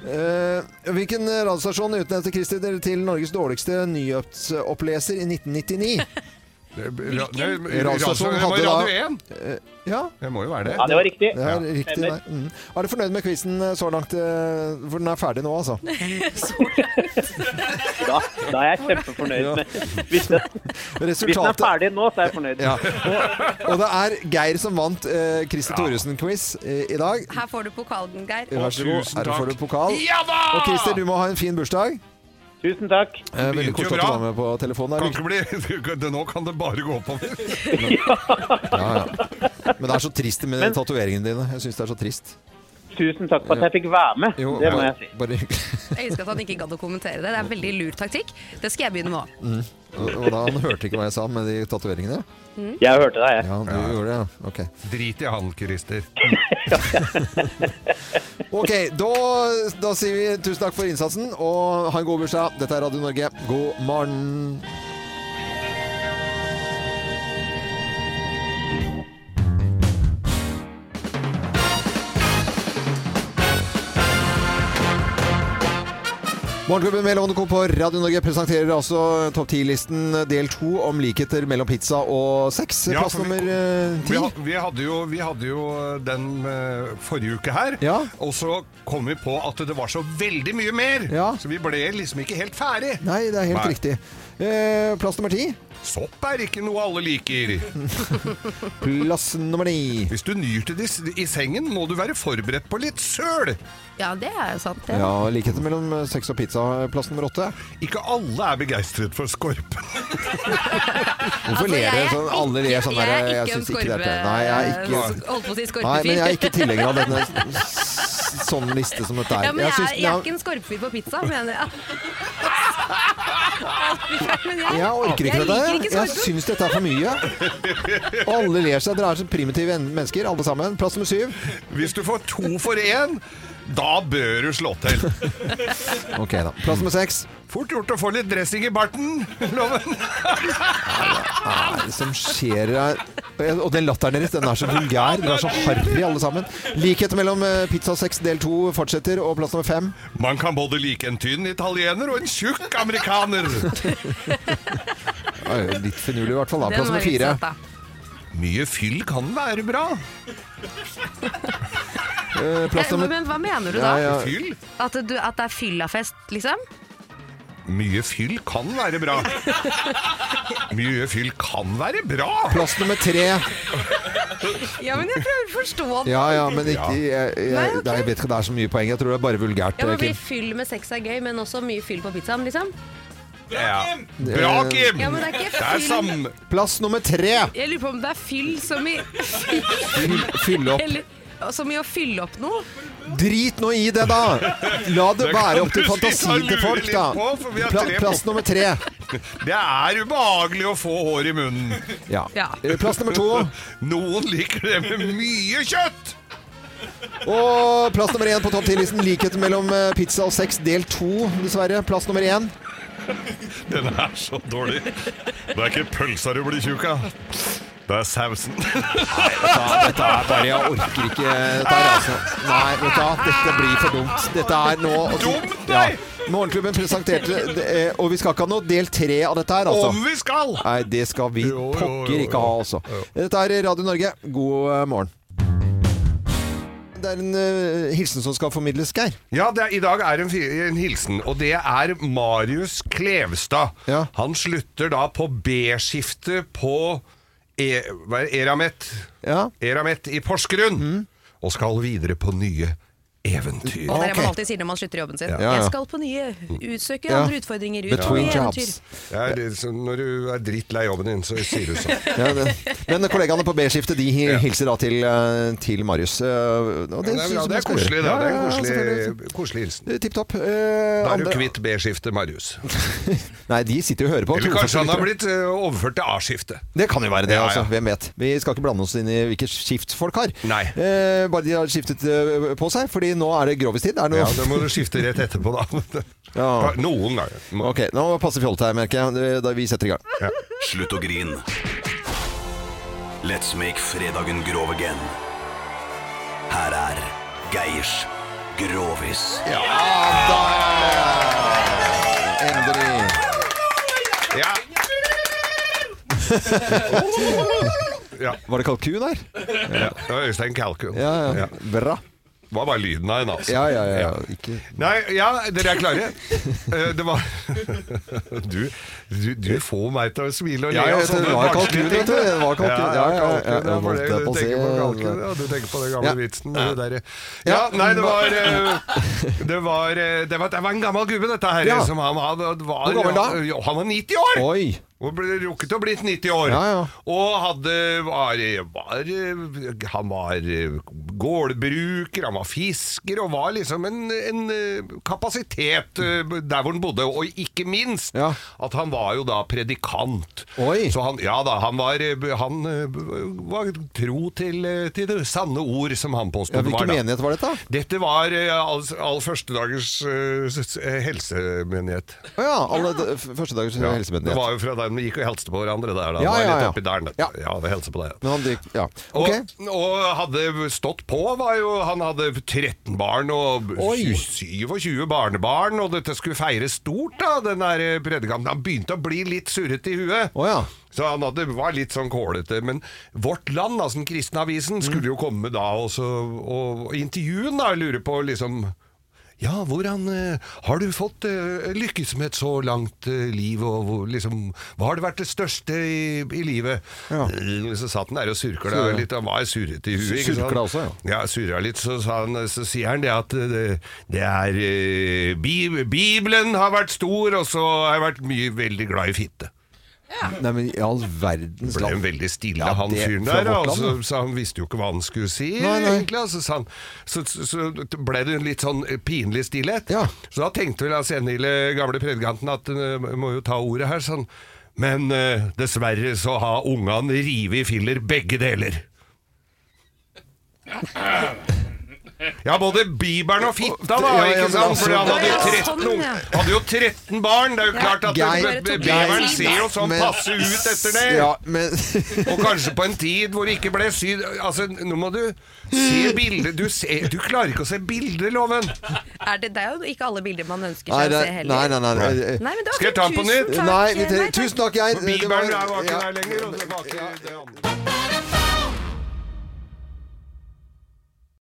Speaker 1: Eh, hvilken radiostasjon utnevnte Christer dere til Norges dårligste nyhetsoppleser i 1999?
Speaker 3: Hvilken?
Speaker 1: Radiostasjon
Speaker 3: Det var
Speaker 1: hadde
Speaker 3: Radio
Speaker 1: da Eh, Ja.
Speaker 3: Det må jo være det.
Speaker 1: Ja, Det er, riktig, nei. mm. er du fornøyd med quizen så langt? eh, For den er ferdig nå, altså.
Speaker 13: Da, da er jeg kjempefornøyd med Hvis den, hvis den er
Speaker 1: Resultatet-
Speaker 13: ferdig nå, så er jeg fornøyd.
Speaker 1: Ja. Og det er Geir som vant eh, Christer Thoresen-quiz eh, i dag.
Speaker 2: Her får du pokalen, Geir.
Speaker 1: Vær så god. Her får du pokal.
Speaker 2: Ja da!
Speaker 1: Og Christer, du må ha en fin bursdag.
Speaker 13: Tusen takk.
Speaker 1: Eh, veldig kort at du var med på telefonen. her.
Speaker 3: Kan ikke bli, (laughs) det, nå kan det bare gå oppover.
Speaker 1: Ja, ja. Men det er så trist med
Speaker 13: Men-
Speaker 1: tatoveringene dine. Jeg syns det er så trist.
Speaker 13: Tusen takk for at jeg fikk være med.
Speaker 1: Jo,
Speaker 13: det må
Speaker 1: bare-
Speaker 13: jeg si.
Speaker 1: Bare hyggelig.
Speaker 2: Jeg elsker at han ikke gadd å kommentere det. Det er en veldig lur taktikk. Det skal jeg begynne med òg.
Speaker 1: Mm. Og og da, Han hørte ikke hva jeg sa med de tatoveringene?
Speaker 2: Mm.
Speaker 13: Jeg hørte deg, jeg.
Speaker 1: Ja, du gjorde det, ja. Ok.
Speaker 3: Drit i han, Christer.
Speaker 1: Ok, da, da sier vi tusen takk for innsatsen, og ha en god bursdag. Dette er Radio Norge. God morgen. Morgenklubben med Lovende Co. på Radio Norge presenterer altså topp 10-listen del to om likheter mellom pizza og sex.
Speaker 3: Ja,
Speaker 1: Plass
Speaker 3: for vi-
Speaker 1: nummer eh,
Speaker 3: Vi,
Speaker 1: ti.
Speaker 3: ha- vi, hadde jo, vi hadde jo den eh, forrige uke her, og så kom vi på at det var så veldig mye mer. Så vi ble liksom ikke helt ferdig.
Speaker 1: Nei, det er helt
Speaker 3: Nei.
Speaker 1: riktig. Eh, plass nummer ti.
Speaker 3: Sopp er ikke noe alle liker.
Speaker 1: Plass nummer ni.
Speaker 3: Hvis du nyr til det i sengen, må du være forberedt på litt søl.
Speaker 2: Ja, det er jo sant, det.
Speaker 1: Ja, likheter mellom eh, sex og pizza. Plass nummer åtte.
Speaker 3: Ikke alle er begeistret for skorpe.
Speaker 1: Hvorfor
Speaker 3: (laughs)
Speaker 2: Altså,
Speaker 1: ler
Speaker 2: jeg
Speaker 1: dere
Speaker 2: er
Speaker 1: sånn? Alle ler sånn
Speaker 2: ikke-
Speaker 1: der.
Speaker 2: jeg
Speaker 1: Jeg
Speaker 2: er ikke en altså,
Speaker 1: syns ikke det er
Speaker 2: skorpe-
Speaker 1: pent. Nei, jeg er
Speaker 2: s- holdt på å si
Speaker 1: ikke
Speaker 2: skorpefyr.
Speaker 1: Nei, men jeg er ikke tilhenger av
Speaker 2: (laughs)
Speaker 1: denne s- sånn liste som dette er.
Speaker 2: Ja, men jeg,
Speaker 1: syns
Speaker 2: er,
Speaker 1: den
Speaker 2: jeg
Speaker 1: er-
Speaker 2: er ikke en skorpefyr på
Speaker 1: (laughs)
Speaker 2: pizza, mener jeg. Men jeg,
Speaker 1: jeg orker ikke
Speaker 2: jeg
Speaker 1: dette.
Speaker 2: liker
Speaker 1: Jeg,
Speaker 2: ikke sånn-
Speaker 1: jeg
Speaker 2: skorpe.
Speaker 1: syns dette er for mye. Og alle ler seg. Dere er så primitive en- mennesker, alle sammen. Plass nummer syv.
Speaker 3: Hvis du får to for én, da bør du slå til.
Speaker 1: Ok, da. Plass nummer seks.
Speaker 3: Fort gjort å få litt dressing i barten, loven.
Speaker 1: Hva er det som skjer her? Og den latteren deres, den er så vulgær. Dere er så harry, alle sammen. Likhet mellom eh, pizza og sex del to fortsetter, og plass nummer fem.
Speaker 3: Man kan både like en tynn italiener og en tjukk amerikaner.
Speaker 1: Ja, Litt finurlig i hvert fall. Da. Plass nummer fire.
Speaker 3: Mye fyll kan være bra.
Speaker 1: Eh, Plass
Speaker 2: Ja,
Speaker 1: nummer
Speaker 2: Men hva mener du da?
Speaker 3: Ja, ja. Fyll?
Speaker 2: At, du, at det er fyllafest, liksom?
Speaker 3: Mye fyll kan være bra. Mye fyll kan være bra.
Speaker 1: Plass nummer tre.
Speaker 2: Ja, men jeg prøver å forstå det.
Speaker 1: Ja, ja, men ikke, jeg, jeg,
Speaker 2: Nei, ok.
Speaker 1: nei, jeg vet ikke, det er så mye poeng. Jeg tror det er bare vulgært. eh,
Speaker 2: Ja, men blir
Speaker 1: Kim.
Speaker 2: fyll med sex er gøy, men også mye fyll på pizzaen, liksom?
Speaker 3: Ja. Bra, Kim!
Speaker 2: Ja, men det er ikke fyll.
Speaker 3: sam-
Speaker 1: Plass nummer tre.
Speaker 2: Jeg lurer på om det er fyll som i (laughs) Fyll,
Speaker 1: Fyll, fyll opp.
Speaker 2: Eller, som i å fylle opp noe?
Speaker 1: Drit nå i det, da! La det
Speaker 3: Det kan
Speaker 1: være opp til
Speaker 3: du sitte og
Speaker 1: fantasien til
Speaker 3: lure
Speaker 1: folk,
Speaker 3: litt
Speaker 1: da.
Speaker 3: på, for vi har
Speaker 1: Pla,
Speaker 3: tre på.
Speaker 1: plass nummer tre.
Speaker 3: Det er ubehagelig å få hår i munnen.
Speaker 1: Ja. Eh, Plass nummer to.
Speaker 3: Noen liker det med mye kjøtt.
Speaker 1: Og plass nummer én på topp ti-listen. Likhet mellom eh, pizza og sex del to, dessverre. Plass nummer én.
Speaker 3: Den er så dårlig. Det er ikke pølsa du blir tjukk av. Det er sausen.
Speaker 1: Dette er bare Jeg orker ikke dette her, altså. Nei, vet du hva. Dette blir for dumt. Dette er nå
Speaker 3: Dumt,
Speaker 1: ja. Morgenklubben presenterte det, eh, Og vi skal ikke ha noe del tre av dette her, altså.
Speaker 3: Om vi skal!
Speaker 1: Nei, det skal vi pokker ikke ha, altså. Dette er Radio Norge. God eh, morgen. det er en eh, hilsen som skal formidles, Geir.
Speaker 3: Ja, det er, i dag er en, fi- en hilsen, og det er Marius Klevstad. Han slutter da på B-skiftet på e, hva er det, Eramet. Eramet i Porsgrunn,
Speaker 1: Mm.
Speaker 3: og skal videre på nye eventyr.
Speaker 14: Og det er det man alltid sier når man slutter jobben sin.
Speaker 3: Ja. Ja, ja.
Speaker 14: Jeg skal på nye, utsøker
Speaker 3: Ja.
Speaker 14: andre utfordringer. Ut på
Speaker 3: Between
Speaker 14: nye
Speaker 3: jobs.
Speaker 14: eventyr.
Speaker 3: Det er, det som- når du er drittlei jobben din, så sier du sånn.
Speaker 1: (laughs) Ja, det. Men kollegaene på B-skiftet de hi- hilser da til, eh, til Marius. eh, Og synes
Speaker 3: Ja, det, er, bra.
Speaker 1: jeg
Speaker 3: det
Speaker 1: man
Speaker 3: er
Speaker 1: skal
Speaker 3: koselig,
Speaker 1: gjøre.
Speaker 3: da. Det er
Speaker 1: Ja, ja,
Speaker 3: en
Speaker 1: ja, selvfølgelig.
Speaker 3: koselig, koselig hilsen.
Speaker 1: Tipp topp. Eh,
Speaker 3: Da er du
Speaker 1: andre-
Speaker 3: kvitt B-skiftet, Marius.
Speaker 1: (laughs) Nei, de sitter jo og hører på.
Speaker 3: Eller kanskje han har
Speaker 1: 240 lyttere.
Speaker 3: blitt eh, overført til A-skiftet.
Speaker 1: Det kan jo være det,
Speaker 3: Ja, ja.
Speaker 1: altså. Hvem vet. Vi skal ikke blande oss inn i hvilke skift folk har. Eh, bare de har skiftet eh, på seg, fordi nå er det grovistid. Er det noe-
Speaker 3: Ja, da må du skifte rett etterpå, da.
Speaker 1: Ja.
Speaker 3: (laughs) Noen ganger.
Speaker 1: (laughs) Ok, nå passer fjollet her, merker jeg. Det- Da vi setter i gang.
Speaker 15: Slutt å grin. Let's make fredagen grov again. Her er Geirs Grovis.
Speaker 1: Ja da! Endelig. (laughs)
Speaker 3: Ja.
Speaker 1: Var det kalkun her?
Speaker 3: Ja, det var Øystein Kalkun.
Speaker 1: Ja, ja. Bra.
Speaker 3: Det var bare lyden av en, altså.
Speaker 1: Ja, ja, ja. Ikke
Speaker 3: Nei, ja, dere er klare? Eh, Det var (laughs) du, du, du får meg til å smile og le.
Speaker 1: Ja, jeg
Speaker 3: av
Speaker 1: vet det.
Speaker 3: sånne
Speaker 1: Det var kalkun,
Speaker 3: barnslige ting,
Speaker 1: vet du. Det var kalkun. Ja, ja, ja,
Speaker 3: kalkun,
Speaker 1: ja,
Speaker 3: ja, for
Speaker 1: jeg
Speaker 3: det-
Speaker 1: holdt på å si-
Speaker 3: Du tenker på kalkun, ja. Du tenker på den gamle
Speaker 1: Ja.
Speaker 3: vitsen. Det der. Ja, nei, det
Speaker 1: (laughs)
Speaker 3: var, eh, det var, eh, det var Det var en gammel gubbe, dette her.
Speaker 1: Ja.
Speaker 3: Som han, han var,
Speaker 1: Hvor gammel da?
Speaker 3: Ja, Han var 90 år!
Speaker 1: Oi.
Speaker 3: Og ble rukket å bli 90 år. Og hadde var, var, Han var gårdbruker, han var fisker og var liksom en, en eh, kapasitet eh, der hvor han bodde. Og ikke minst at han var jo da predikant. Så han, ja da, han var, eh, han eh, var tro til, eh, til det sanne ord, som han påsto
Speaker 1: Ja,
Speaker 3: det var.
Speaker 1: hvilken
Speaker 3: da.
Speaker 1: menighet var dette?
Speaker 3: Dette var eh, all, all førstedagers eh, s- s- helsemenighet.
Speaker 1: Å ja. Alle d- f- første dagers
Speaker 3: Ja, Det
Speaker 1: helsemyndighet.
Speaker 3: var jo fra der vi gikk og hilste på hverandre der. Da.
Speaker 1: Ja,
Speaker 3: det var
Speaker 1: ja,
Speaker 3: litt
Speaker 1: ja.
Speaker 3: oppi der, ja. ja, det hilser på deg.
Speaker 1: Men han drik... Ja.
Speaker 3: Og, og hadde stått på, var jo Han hadde 13 barn og
Speaker 1: Oi.
Speaker 3: 27 barnebarn, og dette skulle feires stort, da, den der predikanten. Han begynte å bli litt surrete i huet. Så han hadde, var litt sånn kålete. Men Vårt Land, da, som kristne
Speaker 1: Mm.
Speaker 3: avisen, skulle jo komme da og så- og, og intervjuen, da, lurer på liksom ja, hvordan eh, har du fått eh, lykkes med et så langt eh, liv, og hvor, liksom, hva har det vært det største i, i livet? Eh, Så satt han der og surkla
Speaker 1: Surra.
Speaker 3: litt, han var surrete i huet. ikke sant?
Speaker 1: Surkla også, ja.
Speaker 3: Ja, surra litt, så, sa han, så sier han det at eh, det, det er eh, Bib Bibelen har vært stor, og så har jeg vært mye veldig glad i fitte.
Speaker 1: Nei, men i all verdens
Speaker 3: Ble
Speaker 1: land.
Speaker 3: veldig stille,
Speaker 1: Ja,
Speaker 3: han
Speaker 1: det-
Speaker 3: fyren
Speaker 1: fra
Speaker 3: der.
Speaker 1: vårt
Speaker 3: altså,
Speaker 1: land, da.
Speaker 3: så han visste jo ikke hva han skulle si,
Speaker 1: Nei, nei.
Speaker 3: egentlig. Altså, så, han, så, så, så ble det en litt sånn pinlig stillhet. Så da tenkte vel han senile gamle predikanten at eh, må jo ta ordet her, sånn. Men eh, dessverre så har ungene rivet i filler begge deler. Ja, både bibelen og fitta, da.
Speaker 1: Ja, ja,
Speaker 3: ikke
Speaker 1: men
Speaker 3: sant?
Speaker 1: altså-
Speaker 3: Fordi han hadde,
Speaker 1: Ja, ja,
Speaker 3: 13,
Speaker 1: sånn,
Speaker 3: ung-
Speaker 1: ja.
Speaker 3: hadde jo 13 barn. Det er jo klart at
Speaker 1: Geir-
Speaker 3: b- b-
Speaker 1: Geir-
Speaker 3: bibelen ser jo sånn
Speaker 1: Men-
Speaker 3: passe ut etter det.
Speaker 1: Ja, men
Speaker 3: Og kanskje på en tid hvor det ikke ble syd... Altså, nå må du se bilder du, ser, du klarer ikke å se bilder, Loven!
Speaker 14: Er det, det er jo ikke alle bilder man ønsker
Speaker 1: Nei,
Speaker 14: seg å
Speaker 1: det-
Speaker 14: se heller.
Speaker 1: nei, nei, nei, nei.
Speaker 14: Nei, men det var
Speaker 3: Skal jeg
Speaker 14: fint.
Speaker 3: ta den på
Speaker 14: Tusen
Speaker 3: nytt?
Speaker 14: takk.
Speaker 1: Nei, vi tre- tusen takk, Geir.
Speaker 3: For Bibelen
Speaker 1: Det var-
Speaker 3: er jo ikke
Speaker 1: ja.
Speaker 3: der lenger. Og det var ikke det andre.